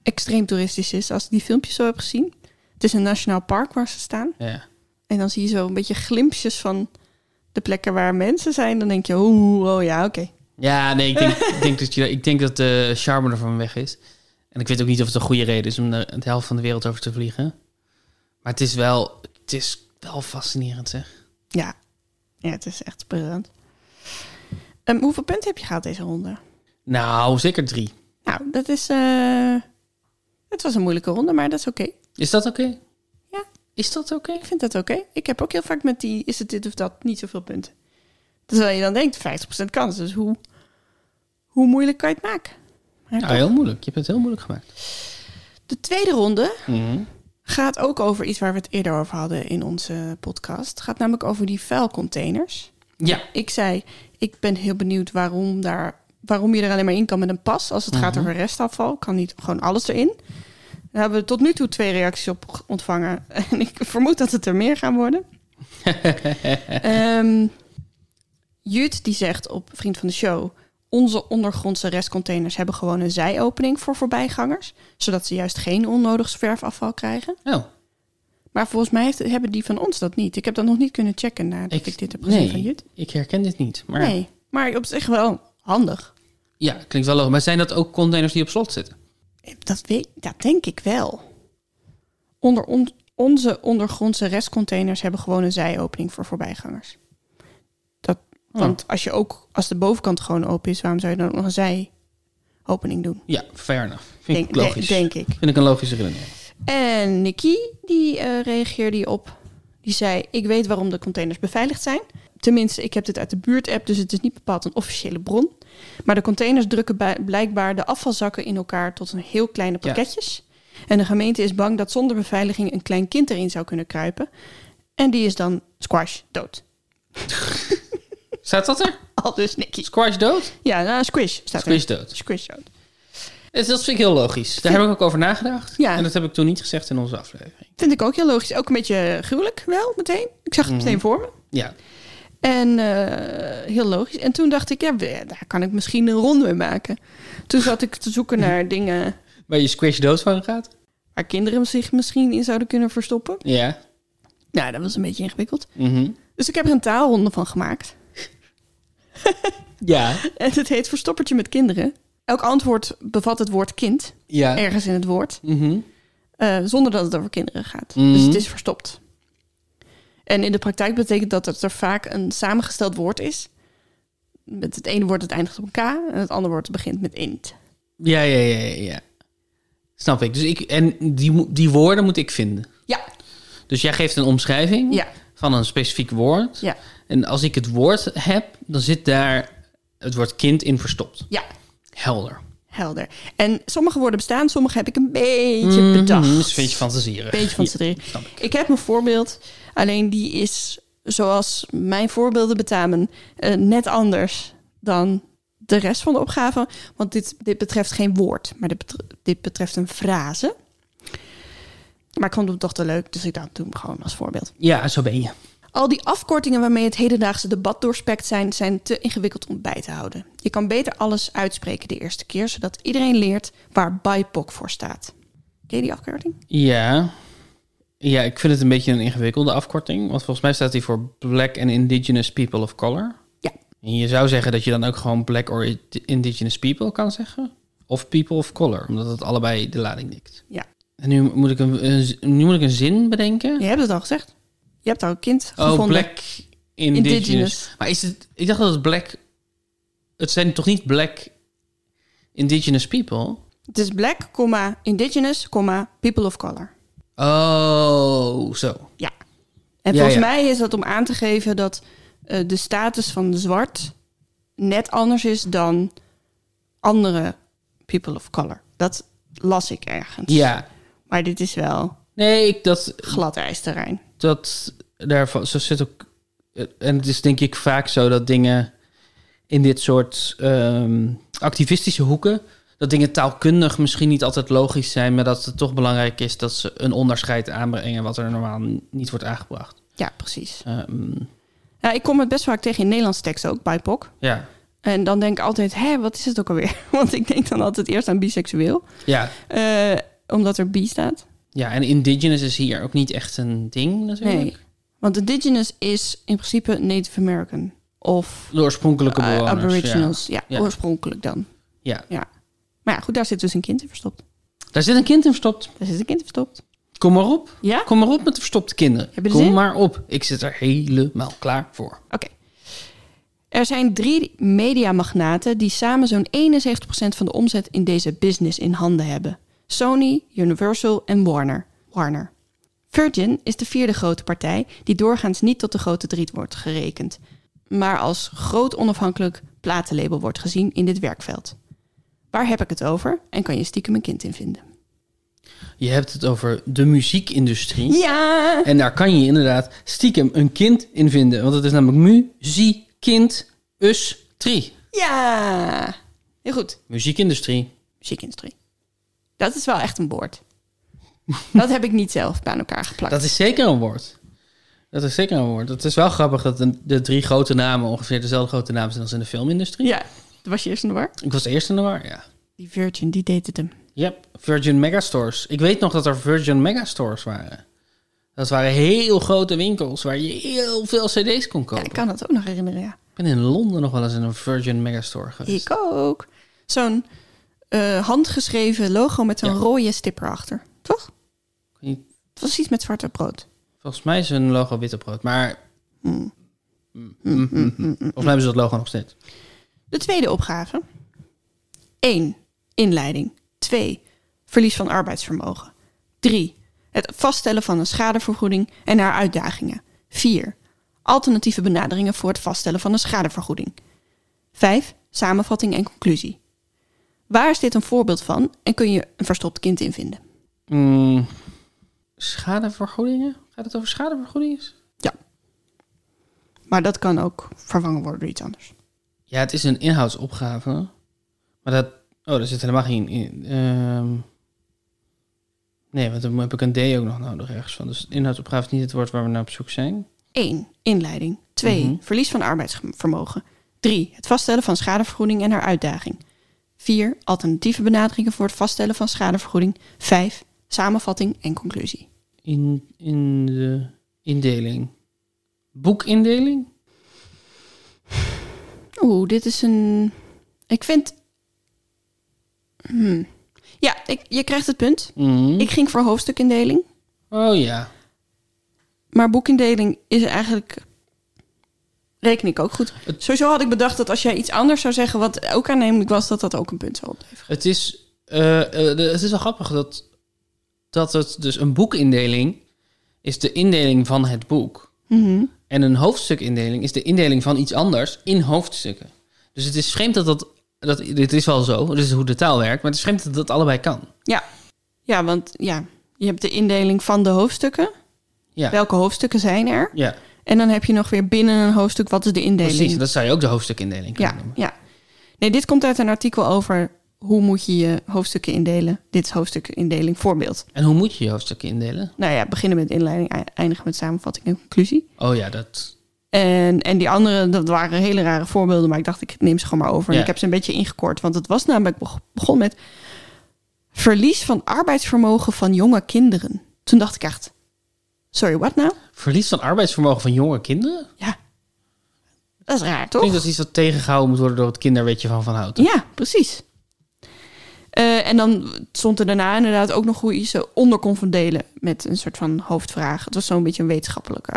B: extreem toeristisch is. Als ik die filmpjes zo heb gezien. Het is een nationaal park waar ze staan.
A: Ja.
B: En dan zie je zo een beetje glimpjes van de plekken waar mensen zijn. Dan denk je, oh, oh ja, oké.
A: Ja, nee, ik denk, ik denk, dat, je, ik denk dat de charme ervan weg is. En ik weet ook niet of het een goede reden is om de, de helft van de wereld over te vliegen. Maar het is wel, het is wel fascinerend, zeg.
B: Ja. ja, het is echt briljant. Ehm, hoeveel punten heb je gehaald deze ronde?
A: Nou, zeker drie.
B: Nou, dat is... eh, het was een moeilijke ronde, maar dat is oké.
A: Is dat oké?
B: Ja.
A: Is dat oké?
B: Ik vind dat oké. Ik heb ook heel vaak met die is het dit of dat niet zoveel punten. Terwijl je dan denkt, 50% kans. Dus hoe, hoe moeilijk kan je het maken? Maar
A: Nou,
B: toch.
A: heel moeilijk. Je hebt het heel moeilijk gemaakt.
B: De tweede ronde gaat ook over iets waar we het eerder over hadden in onze podcast. Het gaat namelijk over die vuilcontainers.
A: Ja.
B: Ik zei, ik ben heel benieuwd waarom, daar, waarom je er alleen maar in kan met een pas. Als het gaat over restafval, kan niet gewoon alles erin. Daar hebben we tot nu toe twee reacties op ontvangen. En ik vermoed dat het er meer gaan worden. Ehm Jut die zegt op Vriend van de Show... onze ondergrondse restcontainers hebben gewoon een zijopening voor voorbijgangers... zodat ze juist geen onnodig zwerfafval krijgen.
A: Oh,
B: Maar volgens mij heeft- hebben die van ons dat niet. Ik heb dat nog niet kunnen checken nadat ik, dit heb gezien
A: nee,
B: van Jut.
A: ik herken dit niet. Maar
B: Nee, maar op zich wel handig.
A: ja, klinkt wel logisch. Maar zijn dat ook containers die op slot zitten?
B: Dat, weet, dat denk ik wel. Onder on- onze ondergrondse restcontainers hebben gewoon een zijopening voor voorbijgangers. Dat,
A: Oh.
B: Want als je ook, als de bovenkant gewoon open is, waarom zou je dan ook nog een zijopening doen?
A: Ja, fair enough. Vind ik
B: de-
A: logisch.
B: denk ik.
A: Vind ik een logische redenering.
B: En Nikki, die eh, reageerde hierop. Die zei, ik weet waarom de containers beveiligd zijn. Tenminste, ik heb dit uit de buurt-app, dus het is niet bepaald een officiële bron. Maar de containers drukken bij- blijkbaar de afvalzakken in elkaar tot een heel kleine
A: Ja.
B: pakketjes. En de gemeente is bang dat zonder beveiliging een klein kind erin zou kunnen kruipen. En die is dan squash dood.
A: Staat dat er?
B: Al dus Nicky.
A: Squash dood?
B: Ja, nou, squish staat er.
A: Squish dood.
B: Squish dood.
A: Dus dat vind ik heel logisch. Daar heb ik ook over nagedacht.
B: Ja.
A: En dat heb ik toen niet gezegd in onze aflevering.
B: Vind ik ook heel logisch. Ook een beetje gruwelijk wel, meteen. Ik zag het meteen voor me.
A: Ja.
B: En eh, heel logisch. En toen dacht ik, ja, we- daar kan ik misschien een ronde mee maken. Toen zat ik te zoeken
A: Mhm.
B: naar dingen
A: Waar je squish dood van gaat?
B: waar kinderen zich misschien in zouden kunnen verstoppen.
A: Ja.
B: Nou, dat was een beetje ingewikkeld.
A: Mhm.
B: Dus ik heb er een taalronde van gemaakt.
A: Ja.
B: En het heet Verstoppertje met kinderen. Elk antwoord bevat het woord kind,
A: Ja.
B: ergens in het woord,
A: Mhm.
B: eh, zonder dat het over kinderen gaat.
A: Mhm.
B: Dus het is verstopt. En in de praktijk betekent dat dat er vaak een samengesteld woord is. Met het ene woord dat eindigt op een K en het andere woord begint met int.
A: Ja, ja, ja, ja, ja. Snap ik. Dus ik en die, mo- die woorden moet ik vinden.
B: Ja,
A: Dus jij geeft een omschrijving
B: ja,
A: van een specifiek woord.
B: ja.
A: En als ik het woord heb, dan zit daar het woord kind in verstopt.
B: Ja,
A: Helder.
B: helder. En sommige woorden bestaan, sommige heb ik een beetje bedacht.
A: Mhm, Dat is een beetje fantasierig.
B: Beetje van z'n drieën.
A: Ja, snap ik.
B: Ik heb een voorbeeld, alleen die is, zoals mijn voorbeelden betamen, eh, net anders dan de rest van de opgave. Want dit, dit betreft geen woord, maar dit, betre- dit betreft een frase. Maar ik vond hem toch te leuk, dus ik dacht, doe hem gewoon als voorbeeld.
A: Ja, zo ben je.
B: Al die afkortingen waarmee het hedendaagse debat doorspekt zijn, zijn te ingewikkeld om bij te houden. Je kan beter alles uitspreken de eerste keer, zodat iedereen leert waar BIPOC voor staat. Ken je die afkorting?
A: Ja. Ja, ik vind het een beetje een ingewikkelde afkorting. Want volgens mij staat die voor Black and Indigenous People of Color.
B: Ja.
A: En je zou zeggen dat je dan ook gewoon Black or i- Indigenous People kan zeggen. Of People of Color, omdat het allebei de lading dikt.
B: Ja.
A: En nu moet ik een, een z- nu moet ik een zin bedenken.
B: Je hebt het al gezegd. Je hebt al een kind
A: oh,
B: gevonden.
A: Black indigenous.
B: Indigenous.
A: Maar is het... Ik dacht dat het Black... Het zijn toch niet Black Indigenous People?
B: Het is black, comma, indigenous, comma, people of color.
A: Oh, zo.
B: Ja. En
A: Ja,
B: volgens
A: ja.
B: mij is dat om aan te geven dat eh, de status van zwart net anders is dan andere people of color. Dat las ik ergens.
A: Ja.
B: Maar dit is wel
A: Nee, ik, dat,
B: glad ijsterrein.
A: dat daarvan, zo zit ook. En het is denk ik vaak zo dat dingen in dit soort ehm, activistische hoeken, dat dingen taalkundig misschien niet altijd logisch zijn, maar dat het toch belangrijk is dat ze een onderscheid aanbrengen wat er normaal niet wordt aangebracht.
B: Ja, precies.
A: Ehm,
B: Ja, ik kom het best vaak tegen in Nederlandse teksten ook, BIPOC.
A: ja,
B: En dan denk ik altijd, hé, wat is het ook alweer? Want ik denk dan altijd eerst aan biseksueel.
A: ja,
B: Eh, omdat er bi staat.
A: ja. En indigenous is hier ook niet echt een ding natuurlijk.
B: Nee. Want indigenous is in principe Native American. Of
A: De oorspronkelijke
B: eh,
A: bewoners.
B: aboriginals. Ja.
A: Ja.
B: oorspronkelijk dan.
A: Ja. ja,
B: Ja. Maar ja, goed, daar zit dus een kind in verstopt.
A: daar zit een kind in verstopt.
B: Daar zit een kind in verstopt.
A: Kom maar op.
B: Ja?
A: Kom maar op met de verstopte kinderen.
B: Heb je er
A: Kom
B: zin in?
A: maar op. Ik zit er helemaal klaar voor.
B: Oké. Er zijn drie mediamagnaten die samen zo'n 71% van de omzet in deze business in handen hebben. Sony, Universal en Warner. Warner. Virgin is de vierde grote partij die doorgaans niet tot de grote drie wordt gerekend, maar als groot onafhankelijk platenlabel wordt gezien in dit werkveld. Waar heb ik het over en kan je stiekem een kind in vinden?
A: Je hebt het over de muziekindustrie.
B: Ja!
A: En daar kan je inderdaad stiekem een kind in vinden. Want het is namelijk muziekkind us tri.
B: Ja! Heel goed.
A: Muziekindustrie.
B: muziekindustrie. Dat is wel echt een woord. dat heb ik niet zelf bij elkaar geplakt.
A: Dat is zeker een woord. Dat is zeker een woord. Het is wel grappig dat de, de drie grote namen ongeveer dezelfde grote namen zijn als in de filmindustrie.
B: Ja, dat was je eerst in de war.
A: Ik was eerst in de war, ja.
B: Die Virgin, die deed het hem.
A: Yep, Virgin Megastores. Ik weet nog dat er Virgin Megastores waren. Dat waren heel grote winkels waar je heel veel cd's kon
B: Ja,
A: kopen.
B: ik kan dat ook nog herinneren, ja.
A: Ik ben in Londen nog wel eens in een Virgin Megastore geweest.
B: Ik ook. Zo'n eh, handgeschreven logo met een
A: Ja.
B: rode stip erachter, toch?
A: Ik weet niet
B: Het was iets met zwarte brood.
A: Volgens mij is hun logo wit op rood. Maar
B: Hmm.
A: Mm, mm, mm, mm. volgens mij hebben ze dat logo nog steeds.
B: De tweede opgave. 1. Inleiding. 2. Verlies van arbeidsvermogen. 3. Het vaststellen van een schadevergoeding en haar uitdagingen. 4. Alternatieve benaderingen voor het vaststellen van een schadevergoeding. 5. Samenvatting en conclusie. Waar is dit een voorbeeld van en kun je een verstopt kind in vinden?
A: Mm, Schadevergoedingen? Gaat het over schadevergoedingen?
B: Ja. Maar dat kan ook vervangen worden door iets anders.
A: Ja, het is een inhoudsopgave. Maar dat... Oh, daar zit helemaal geen... In, ehm, nee, want dan heb ik een D ook nog nodig ergens van. Dus inhoudsopgave is niet het woord waar we naar op zoek zijn.
B: 1. Inleiding. 2. Verlies van arbeidsvermogen. 3. Het vaststellen van schadevergoeding en haar uitdaging. 4. Alternatieve benaderingen voor het vaststellen van schadevergoeding. 5. Samenvatting en conclusie.
A: In, in de indeling. Boekindeling?
B: Oeh, dit is een. Ik vind. Hmm. Ja, ik, je krijgt het punt.
A: Mm.
B: Ik ging voor hoofdstukindeling.
A: Oh ja.
B: Maar boekindeling is eigenlijk. Reken ik ook goed.
A: Het-
B: Sowieso had ik bedacht dat als jij iets anders zou zeggen wat ook aannemelijk was, dat dat ook een punt zou opleveren.
A: Het is, eh, eh, de- het is wel grappig dat, dat het dus een boekindeling is de indeling van het boek.
B: Mhm.
A: En een hoofdstukindeling is de indeling van iets anders in hoofdstukken. Dus het is vreemd dat dat, dat dit is wel zo, dit is hoe de taal werkt, maar het is vreemd dat dat allebei kan.
B: Ja. ja, want ja, je hebt de indeling van de hoofdstukken.
A: Ja.
B: Welke hoofdstukken zijn er?
A: Ja,
B: En dan heb je nog weer binnen een hoofdstuk wat is de indeling.
A: precies. Dat zou je ook de hoofdstukindeling kunnen
B: ja,
A: noemen.
B: ja. Nee, dit komt uit een artikel over hoe moet je je hoofdstukken indelen. Dit is hoofdstukindeling voorbeeld.
A: En hoe moet je je hoofdstukken indelen?
B: Nou ja, beginnen met inleiding, ei- eindigen met samenvatting en conclusie.
A: Oh ja, dat...
B: En, en die andere, dat waren hele rare voorbeelden, maar ik dacht, ik neem ze gewoon maar over. En
A: Ja.
B: ik heb ze een beetje ingekort, want het was namelijk beg- begon met verlies van arbeidsvermogen van jonge kinderen. Toen dacht ik echt, sorry, wat nou?
A: Verlies van arbeidsvermogen van jonge kinderen?
B: Ja, dat is raar,
A: Ik
B: toch?
A: denk dat is iets dat tegengehouden moet worden door het kinderwetje van Van Houten.
B: Ja, precies. Eh, en dan stond er daarna inderdaad ook nog hoe je ze onder kon verdelen met een soort van hoofdvraag. Het was zo'n beetje een wetenschappelijke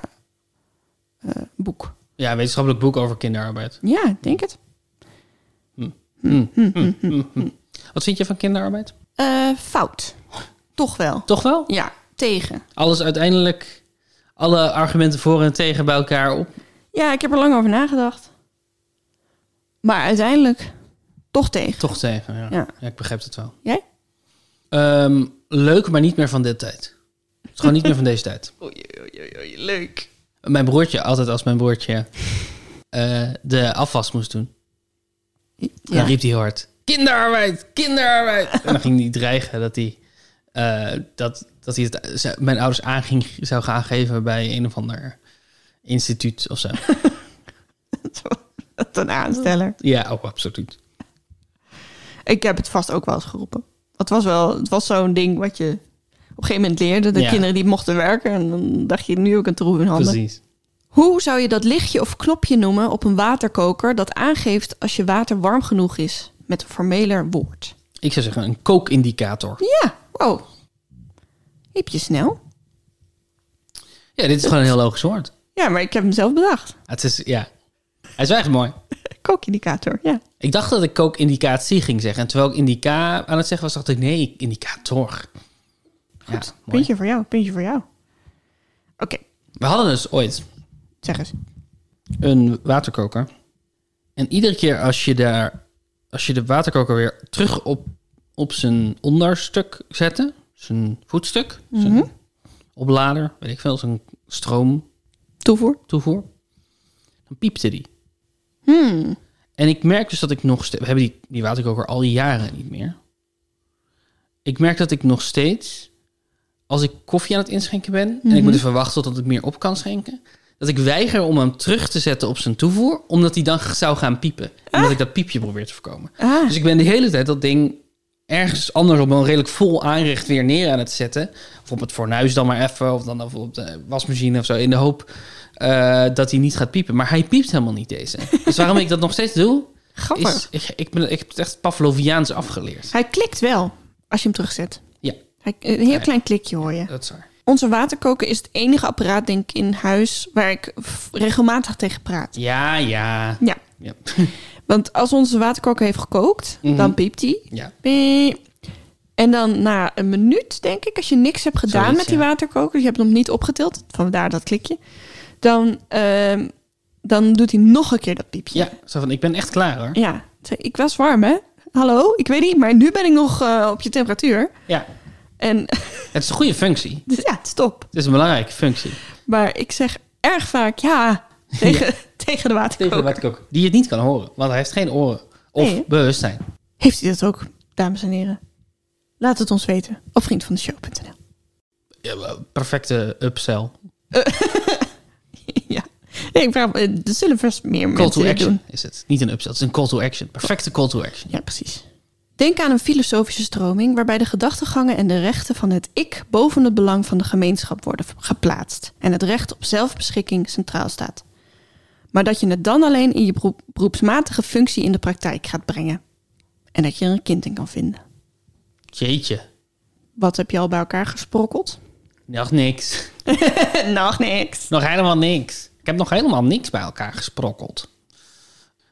B: eh, boek.
A: Ja, wetenschappelijk boek over kinderarbeid.
B: Ja, ik denk het.
A: Wat vind je van kinderarbeid?
B: Eh, fout. Toch wel.
A: Toch wel?
B: Ja, tegen.
A: Alles uiteindelijk, alle argumenten voor en tegen bij elkaar op.
B: Ja, ik heb er lang over nagedacht. Maar uiteindelijk toch tegen.
A: Toch tegen, ja.
B: Ja.
A: Ja, ik begrijp het wel.
B: Jij?
A: Ehm, leuk, maar niet meer van dit tijd. Het is gewoon niet meer van deze tijd.
B: Oei, oei, oei, oei, leuk.
A: Mijn broertje, altijd als mijn broertje eh, de afwas moest doen. Dan
B: Ja.
A: riep hij hard, kinderarbeid, kinderarbeid. en dan ging hij dreigen dat hij, eh, dat, dat hij het, ze- mijn ouders aanging, zou gaan geven bij een of ander instituut of zo.
B: Wat een aansteller.
A: ja, oh, absoluut.
B: Ik heb het vast ook wel eens geroepen. Het was wel, het was zo'n ding wat je op een gegeven moment leerde. De
A: Ja.
B: kinderen die mochten werken. En dan dacht je, nu ook een troef in handen.
A: Precies.
B: Hoe zou je dat lichtje of knopje noemen op een waterkoker... dat aangeeft als je water warm genoeg is? Met een formeler woord.
A: Ik zou zeggen een kookindicator.
B: Ja, wow. Heb je snel?
A: Ja, dit is gewoon een heel logisch woord.
B: Ja, maar ik heb hem zelf bedacht.
A: Het is, ja. Hij is wel echt mooi.
B: Kookindicator, ja.
A: Ik dacht dat ik kookindicatie ging zeggen. En terwijl ik indica aan het zeggen was, dacht ik nee, indicator. Ja,
B: Goed,
A: mooi.
B: puntje voor jou, puntje voor jou. Oké,
A: We hadden dus ooit
B: zeg eens.
A: een waterkoker. En iedere keer als je, daar, als je de waterkoker weer terug op, op zijn onderstuk zette, zijn voetstuk, zijn
B: Mhm.
A: oplader, weet ik veel, zijn stroomtoevoer,
B: Toevoer?
A: dan piepte die.
B: Hmm.
A: En ik merk dus dat ik nog steeds... We hebben die, die waterkoker al die jaren niet meer. Ik merk dat ik nog steeds... Als ik koffie aan het inschenken ben... en ik moet even wachten tot ik meer op kan schenken... dat ik weiger om hem terug te zetten op zijn toevoer... omdat hij dan zou gaan piepen. Omdat ik dat piepje probeer te voorkomen.
B: Ah,
A: Dus ik ben de hele tijd dat ding ergens anders op een redelijk vol aanrecht weer neer aan het zetten. Of op het fornuis dan maar even, of dan op de wasmachine of zo. In de hoop eh, dat hij niet gaat piepen. Maar hij piept helemaal niet deze. Dus waarom ik dat nog steeds doe,
B: grappig.
A: is, ik, ik, ben, ik heb het echt Pavloviaans afgeleerd.
B: Hij klikt wel als je hem terugzet.
A: Ja,
B: Hij- Een heel klein klikje hoor je.
A: dat is waar.
B: onze waterkoker is het enige apparaat, denk ik, in huis waar ik f- regelmatig tegen praat.
A: Ja, ja.
B: Ja,
A: Ja.
B: want als onze waterkoker heeft gekookt,
A: Mhm.
B: dan piept die.
A: ja.
B: Piep. En dan na een minuut, denk ik, als je niks hebt gedaan
A: Zoiets,
B: met die
A: ja.
B: waterkoker, je hebt hem niet opgetild, vandaar dat klikje, dan, ehm, dan doet hij nog een keer dat piepje.
A: Ja, zo van, ik ben echt klaar hoor.
B: Ja, zei, ik was warm, hè? Hallo, ik weet niet, maar nu ben ik nog eh, op je temperatuur.
A: Ja,
B: En
A: het is een goede functie.
B: dus ja, stop.
A: Het is een belangrijke functie.
B: Maar ik zeg erg vaak ja tegen, tegen de waterkoker.
A: Tegen de waterkoker. Die het niet kan horen, want hij heeft geen oren. Of
B: Nee.
A: bewustzijn.
B: Heeft u dat ook, dames en heren? Laat het ons weten op vriendvandeshow.nl.
A: Ja, wel, perfecte upsell.
B: ja, nee, ik vraag, me, er zullen vast meer
A: Call
B: mensen
A: to
B: dit
A: action
B: doen.
A: is het. Niet een upsell, het is een call to action. Perfecte call to action.
B: Ja, precies. Denk aan een filosofische stroming waarbij de gedachtegangen en de rechten van het ik boven het belang van de gemeenschap worden v- geplaatst en het recht op zelfbeschikking centraal staat. Maar dat je het dan alleen in je beroep- beroepsmatige functie in de praktijk gaat brengen. En dat je er een kind in kan vinden.
A: Jeetje.
B: Wat heb je al bij elkaar gesprokkeld?
A: Nog niks.
B: Nog niks.
A: Nog helemaal niks. Ik heb nog helemaal niks bij elkaar gesprokkeld.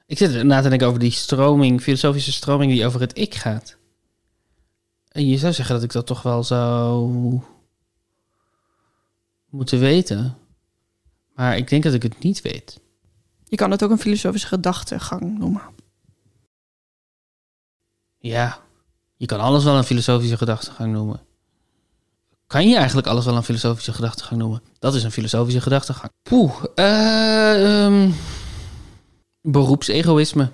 A: Ik zit na te denken over die stroming, filosofische stroming die over het ik gaat. En je zou zeggen dat ik dat toch wel zou moeten weten. Maar ik denk dat ik het niet weet.
B: Je kan het ook een filosofische gedachtegang noemen.
A: Ja, je kan alles wel een filosofische gedachtegang noemen. Kan je eigenlijk alles wel een filosofische gedachtegang noemen? Dat is een filosofische gedachtegang. Poeh, eh, ehm, beroepsegoïsme.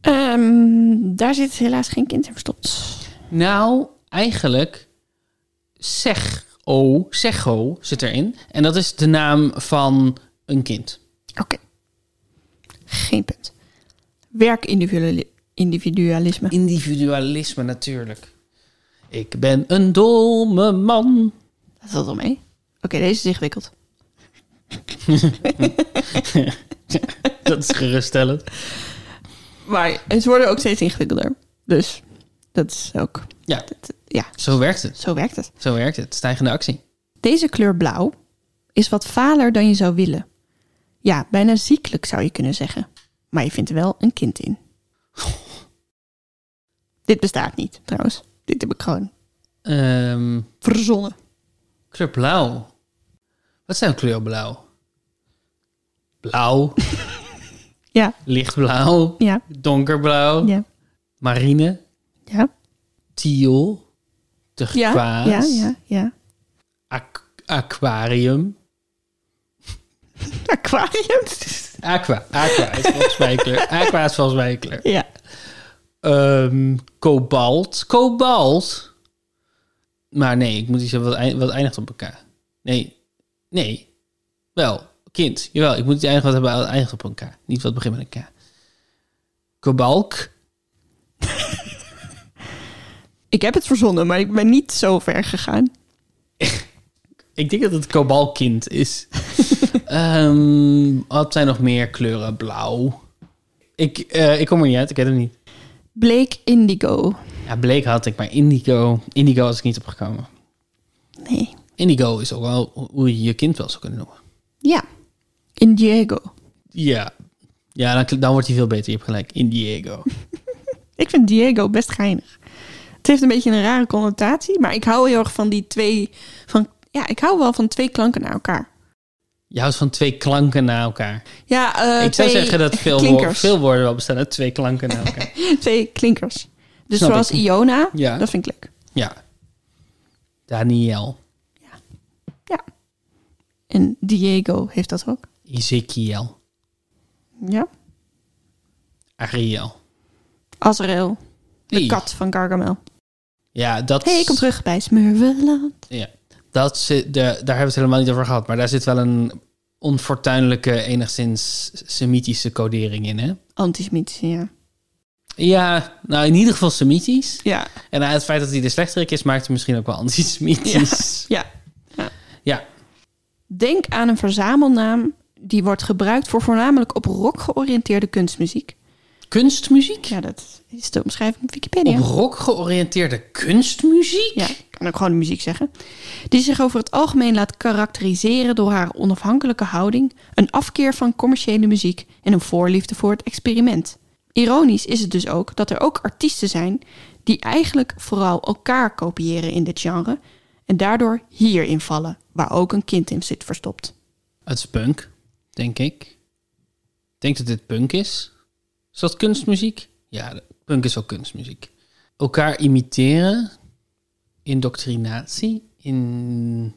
B: Ehm, daar zit helaas geen kind in verstopt.
A: Nou, eigenlijk Sego, Sego zit erin. En dat is de naam van een kind.
B: Oké. Geen punt. Werkindividualisme. individualisme.
A: Individualisme natuurlijk. Ik ben een domme man.
B: Dat zat al mee. Oké, deze is ingewikkeld.
A: Dat is geruststellend.
B: Maar het worden ook steeds ingewikkelder. Dus dat is ook...
A: Ja,
B: dat- ja,
A: zo werkt het.
B: zo werkt het.
A: Zo werkt het. Stijgende actie.
B: Deze kleur blauw is wat valer dan je zou willen. Ja, bijna ziekelijk zou je kunnen zeggen. Maar je vindt er wel een kind in. Dit bestaat niet, trouwens. Dit heb ik gewoon
A: Ehm,
B: verzonnen.
A: kleur blauw. Wat zijn kleur blauw? Blauw,
B: Ja,
A: lichtblauw,
B: ja,
A: donkerblauw,
B: ja.
A: marine,
B: Ja,
A: tiel, de
B: ja, ja, ja, ja.
A: Aqu- aquarium.
B: Aquarium?
A: Aqua. Aqua is volgens mij een kleur. Aqua is volgens mij een kleur.
B: Ja.
A: Ehm, kobalt. Kobalt? Maar nee, ik moet iets hebben wat, eind- wat eindigt op elkaar. Nee. Nee. Wel. Kind. Jawel, ik moet iets eindigen wat hebben wat eindigt op elkaar. Niet wat begint met een K. Kobalk.
B: Ik heb het verzonnen, maar ik ben niet zo ver gegaan.
A: Ik denk dat het kobalkind is. Ehm, wat zijn nog meer kleuren? Blauw. Ik, eh, ik kom er niet uit, ik weet het niet.
B: Bleek indigo.
A: Ja, bleek had ik, maar indigo. Indigo was ik niet opgekomen.
B: Nee.
A: Indigo is ook wel hoe je je kind wel zou kunnen noemen.
B: Ja. Indiego.
A: Ja, ja dan, kl- dan wordt hij veel beter. Je hebt gelijk. Indiego.
B: Ik vind Diego best geinig. Het heeft een beetje een rare connotatie, maar ik hou heel erg van die twee... Van, ja, ik hou wel van twee klanken naar elkaar.
A: Je houdt van twee klanken na elkaar.
B: Ja, eh,
A: ik zou
B: twee
A: zeggen dat veel, wo-
B: klinkers.
A: veel woorden wel bestaan uit twee klanken na elkaar.
B: Twee klinkers. Dus
A: Snap
B: zoals
A: ik.
B: Iona,
A: Ja.
B: dat vind ik leuk.
A: ja. Daniel.
B: Ja. En Diego heeft dat ook.
A: Ezekiel.
B: Ja.
A: Ariel.
B: Azrael, de
A: Hey.
B: kat van Gargamel.
A: Ja, dat...
B: Hé, hey, kom terug bij Smurveland.
A: Ja. Dat zit, de, daar hebben we het helemaal niet over gehad. Maar daar zit wel een onfortuinlijke, enigszins semitische codering in, hè?
B: Antisemitische, ja.
A: Ja, nou in ieder geval semitisch.
B: Ja.
A: En het feit dat hij de slechterik is, maakt hem misschien ook wel antisemitisch.
B: ja.
A: Ja.
B: Denk aan een verzamelnaam die wordt gebruikt voor voornamelijk op rock georiënteerde kunstmuziek.
A: kunstmuziek?
B: Ja, dat is de omschrijving op Wikipedia.
A: Op rock georiënteerde kunstmuziek?
B: Ja, ik kan ook gewoon de muziek zeggen. Die zich over het algemeen laat karakteriseren door haar onafhankelijke houding, een afkeer van commerciële muziek en een voorliefde voor het experiment. Ironisch is het dus ook dat er ook artiesten zijn die eigenlijk vooral elkaar kopiëren in dit genre en daardoor hierin vallen, waar ook een kind in zit verstopt.
A: Het is punk, denk ik. Ik denk dat dit punk is. Is dat kunstmuziek? Ja, punk is wel kunstmuziek. Elkaar imiteren, indoctrinatie in,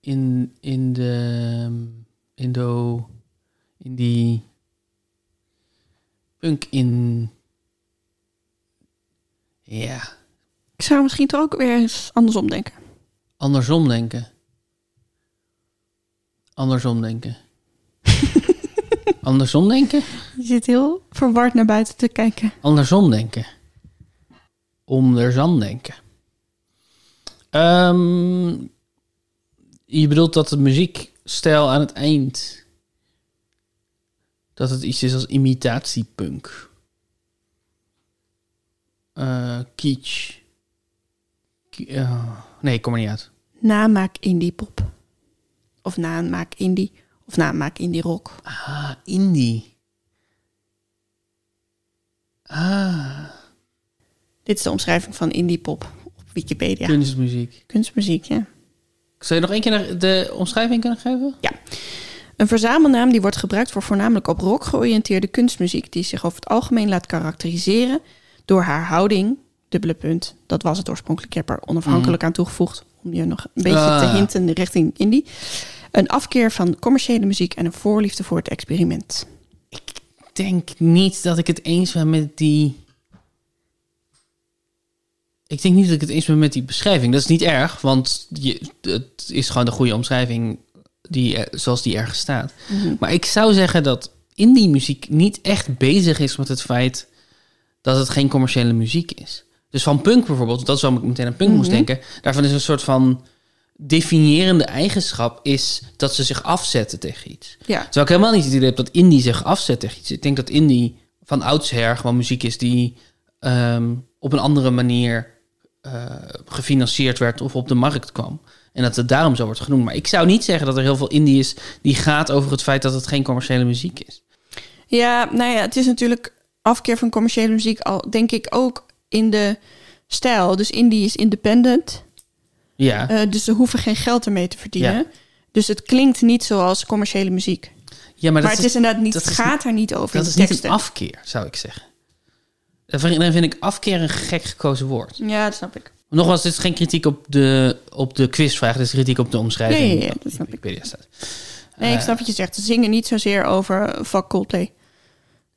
A: in, in de Indo, in die punk in, ja,
B: Ik zou misschien toch ook weer eens andersom denken.
A: andersom denken. Andersom denken. andersom denken?
B: Je zit heel verward naar buiten te kijken.
A: Andersom denken. Onderzand denken. Ehm, je bedoelt dat de muziekstijl aan het eind... dat het iets is als imitatiepunk. Eh kitsch. Ki- eh, nee, ik kom er niet uit.
B: Namaak indie pop. Of namaak indie. Of namaak indie rock.
A: Ah, indie. Ah,
B: Dit is de omschrijving van indie pop op Wikipedia.
A: kunstmuziek.
B: Kunstmuziek, ja.
A: Zou je nog één keer de omschrijving kunnen geven?
B: Ja. Een verzamelnaam die wordt gebruikt voor voornamelijk op rock georiënteerde kunstmuziek, die zich over het algemeen laat karakteriseren door haar houding, dubbele punt, dat was het oorspronkelijk, ik heb er onafhankelijk aan toegevoegd, om je nog een beetje
A: Ah.
B: te hinten richting indie, een afkeer van commerciële muziek en een voorliefde voor het experiment.
A: denk niet dat ik het eens ben met die. Ik denk niet dat ik het eens ben met die beschrijving. Dat is niet erg, want je, het is gewoon de goede omschrijving die, er- zoals die ergens staat. Maar ik zou zeggen dat indie muziek niet echt bezig is met het feit dat het geen commerciële muziek is. Dus van punk bijvoorbeeld, dat is waarom ik meteen aan punk moest denken. Daarvan is een soort van definiërende eigenschap is dat ze zich afzetten tegen iets.
B: Ja,
A: Terwijl ik helemaal niet het idee heb dat indie zich afzet tegen iets. Ik denk dat indie van oudsher gewoon muziek is die ehm, op een andere manier eh, gefinancierd werd of op de markt kwam. En dat het daarom zo wordt genoemd. Maar ik zou niet zeggen dat er heel veel indie is die gaat over het feit dat het geen commerciële muziek is.
B: Ja, nou ja, het is natuurlijk afkeer van commerciële muziek al, denk ik ook in de stijl. Dus indie is independent,
A: Ja,
B: eh, dus ze hoeven geen geld ermee te verdienen.
A: Ja.
B: Dus het klinkt niet zoals commerciële muziek. Maar,
A: ja maar, dat
B: het is, inderdaad niet,
A: dat
B: het
A: is
B: gaat er niet over
A: dat
B: in
A: is
B: de
A: niet een
B: teksten.
A: afkeer, zou ik zeggen. Dan vind dan vind ik afkeer een gek gekozen woord.
B: ja, dat snap ik.
A: Nogmaals, dit is geen kritiek op de, op de quizvraag. Dit is kritiek op de omschrijving.
B: Ja, ja, ja,
A: op
B: dat snap ik.
A: Wikipedia staat.
B: Nee, ik
A: Eh,
B: snap wat je zegt. Ze zingen niet zozeer over eh, fuck Coldplay.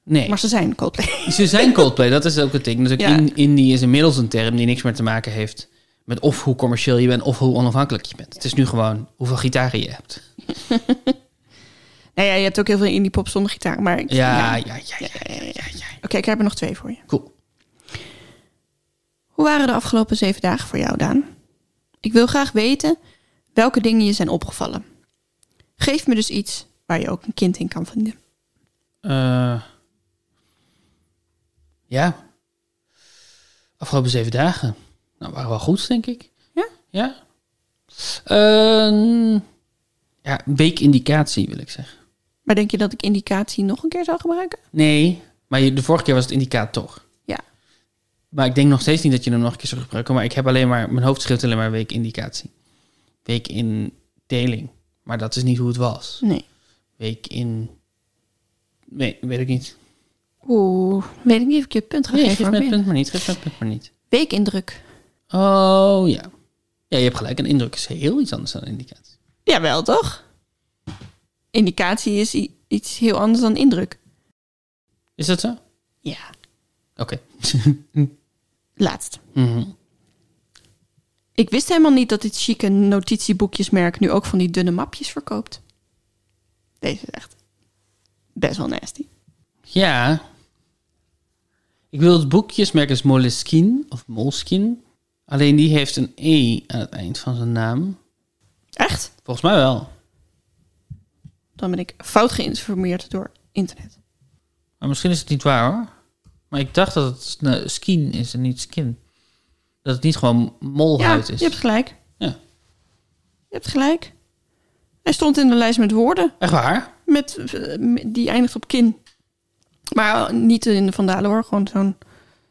A: Nee.
B: Maar ze zijn Coldplay.
A: Ze zijn Coldplay, dat is ook het ding. Dus ook
B: Ja.
A: in, indie is inmiddels een term die niks meer te maken heeft met of hoe commercieel je bent of hoe onafhankelijk je bent. Het is nu gewoon hoeveel gitaren je hebt.
B: nou ja, je hebt ook heel veel indie pop zonder gitaar. Maar ik-
A: Ja,
B: Oké,
A: ja, ja, ja, ja, ja, ja.
B: ik heb er nog twee voor je.
A: Cool.
B: Hoe waren de afgelopen zeven dagen voor jou, Daan? Ik wil graag weten welke dingen je zijn opgevallen. Geef me dus iets waar je ook een kind in kan vinden.
A: Eh, ja. Afgelopen zeven dagen. Nou, waren wel goed, denk ik.
B: Ja?
A: Ja. Ehm, ja, weekindicatie wil ik zeggen.
B: Maar denk je dat ik indicatie nog een keer zou gebruiken?
A: Nee, maar je- de vorige keer was het indicator.
B: Ja.
A: Maar ik denk nog steeds niet dat je hem nog een keer zou gebruiken. Maar ik heb alleen maar, mijn hoofd schreeuwt alleen maar weekindicatie. Weekindeling. Maar dat is niet hoe het was.
B: Nee.
A: Week in. Nee, weet ik niet.
B: Oeh, weet ik niet of ik je het punt ga
A: Nee,
B: geven.
A: geef
B: hoor.
A: me het punt maar niet. Geef me het punt maar niet.
B: Weekindruk.
A: Oh ja. Ja, je hebt gelijk. Een indruk is heel iets anders dan een indicatie.
B: Jawel, toch? Indicatie is i- iets heel anders dan indruk.
A: Is dat zo? Oké.
B: Ja, laatst.
A: Mhm.
B: Ik wist helemaal niet dat dit chique notitieboekjesmerk nu ook van die dunne mapjes verkoopt. Deze is echt best wel nasty.
A: Ja. Ik wil het boekjesmerk is Moleskine of Molskin. Alleen die heeft een E aan het eind van zijn naam.
B: Echt?
A: Volgens mij wel.
B: Dan ben ik fout geïnformeerd door internet.
A: Maar misschien is het niet waar hoor. Maar ik dacht dat het eh, skin is en niet skin. Dat het niet gewoon molhuid
B: ja,
A: is.
B: je hebt gelijk.
A: Ja.
B: Je hebt gelijk. Hij stond in de lijst met woorden.
A: Echt waar?
B: Met, eh, met- die eindigt op kin. Maar niet in de Vandalen hoor. Gewoon zo'n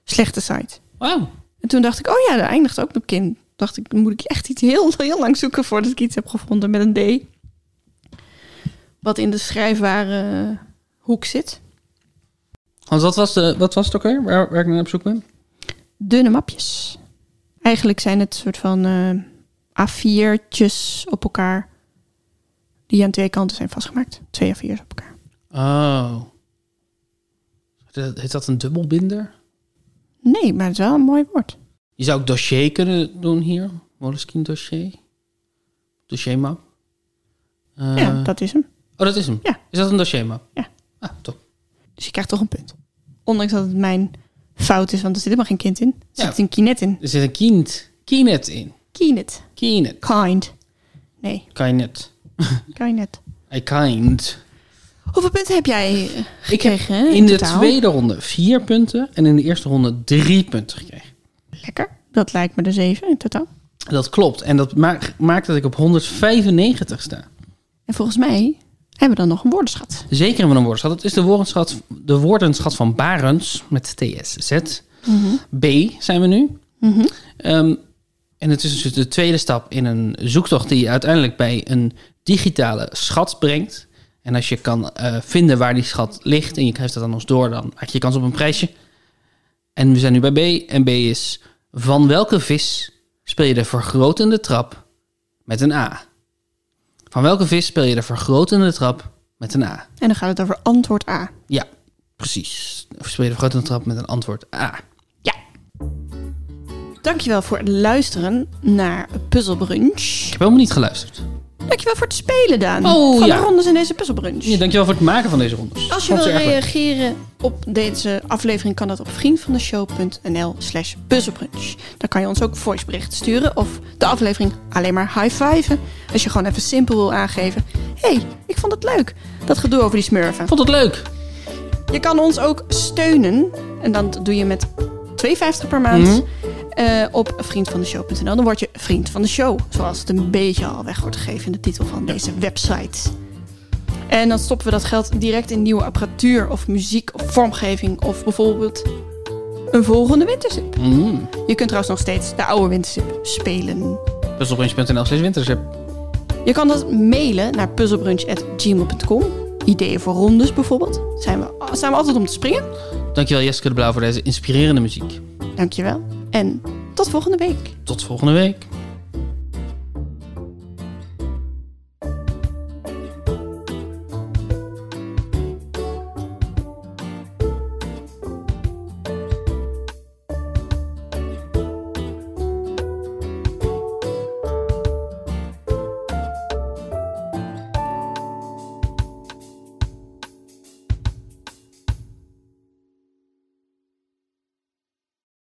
B: slechte site.
A: Wauw.
B: En toen dacht ik, oh ja, dat eindigt ook op kin. Dacht ik, dan moet ik echt iets heel, heel lang zoeken voordat ik iets heb gevonden met een D. Wat in de schrijfware eh, hoek zit.
A: Want wat was, de, wat was het ook weer waar, waar ik naar op zoek ben?
B: Dunne mapjes. Eigenlijk zijn het soort van eh A4'tjes op elkaar. Die aan twee kanten zijn vastgemaakt. Twee A4's op elkaar.
A: Oh. Dat- Heet dat een dubbelbinder?
B: Nee, maar het is wel een mooi woord.
A: Je zou ook dossier kunnen doen hier. Moleskine dossier. Dossiermap. Eh,
B: ja, dat is hem.
A: Oh, dat is hem.
B: Ja.
A: Is dat een dossiermap?
B: Ja.
A: Ah, top.
B: Dus je krijgt toch een punt. Ondanks dat het mijn fout is, want er zit helemaal geen kind in.
A: Ja.
B: Er zit een kinet in.
A: Er zit een kind. Kinet in.
B: Kinet.
A: Kinet.
B: Kind. Nee,
A: Kinet.
B: kinet.
A: I kind.
B: Hoeveel punten heb jij eh, gekregen hè,
A: In de
B: totaal?
A: tweede ronde vier punten en in de eerste ronde drie punten gekregen.
B: Lekker. Dat lijkt me de zeven in totaal.
A: Dat klopt. En dat ma- maakt dat ik op 195 sta.
B: En volgens mij hebben we dan nog een woordenschat.
A: Zeker hebben we een woordenschat. Dat is de woordenschat, de woordenschat van Barends met TSZ. B zijn we nu. Ehm, en het is dus de tweede stap in een zoektocht die je uiteindelijk bij een digitale schat brengt. En als je kan eh, vinden waar die schat ligt en je geeft dat aan ons door, dan maak je kans op een prijsje. En we zijn nu bij B. En B is van welke vis speel je de vergrotende trap met een A? Van welke vis speel je de vergrotende trap met een A?
B: En dan gaat het over antwoord A.
A: Ja, precies. Of speel je de vergrotende trap met een antwoord Ah, A?
B: Ja. Dankjewel voor het luisteren naar Puzzlebrunch.
A: Ik heb helemaal niet geluisterd.
B: Dankjewel voor het spelen, Daan.
A: Oh,
B: van
A: ja.
B: de rondes in deze Puzzlebrunch.
A: Ja, dankjewel voor het maken van deze rondes.
B: Als je
A: Vond
B: wil
A: ze erg leuk.
B: reageren op deze aflevering, kan dat op vriendvandeshow.nl slash puzzelbrunch. Dan kan je ons ook voiceberichten sturen of de aflevering alleen maar high-fiven. Als je gewoon even simpel wil aangeven. Hé, hey, ik vond het leuk, dat gedoe over die smurfen.
A: Vond het leuk.
B: Je kan ons ook steunen. En dan doe je met 2,50 per maand eh, op vriendvandeshow.nl. Dan word je vriend van de show. Zoals het een beetje al weg wordt gegeven in de titel van deze website. En dan stoppen we dat geld direct in nieuwe apparatuur of muziek of vormgeving. Of bijvoorbeeld een volgende wintersip.
A: Mm.
B: Je kunt trouwens nog steeds de oude wintersip spelen.
A: Puzzlebrunch.nl slash wintersip.
B: Je kan dat mailen naar puzzlebrunch.gmail.com. Ideeën voor rondes bijvoorbeeld. Zijn we, staan we altijd om te springen.
A: Dankjewel Jessica de Blauw voor deze inspirerende muziek.
B: Dankjewel. En tot volgende week.
A: Tot volgende week.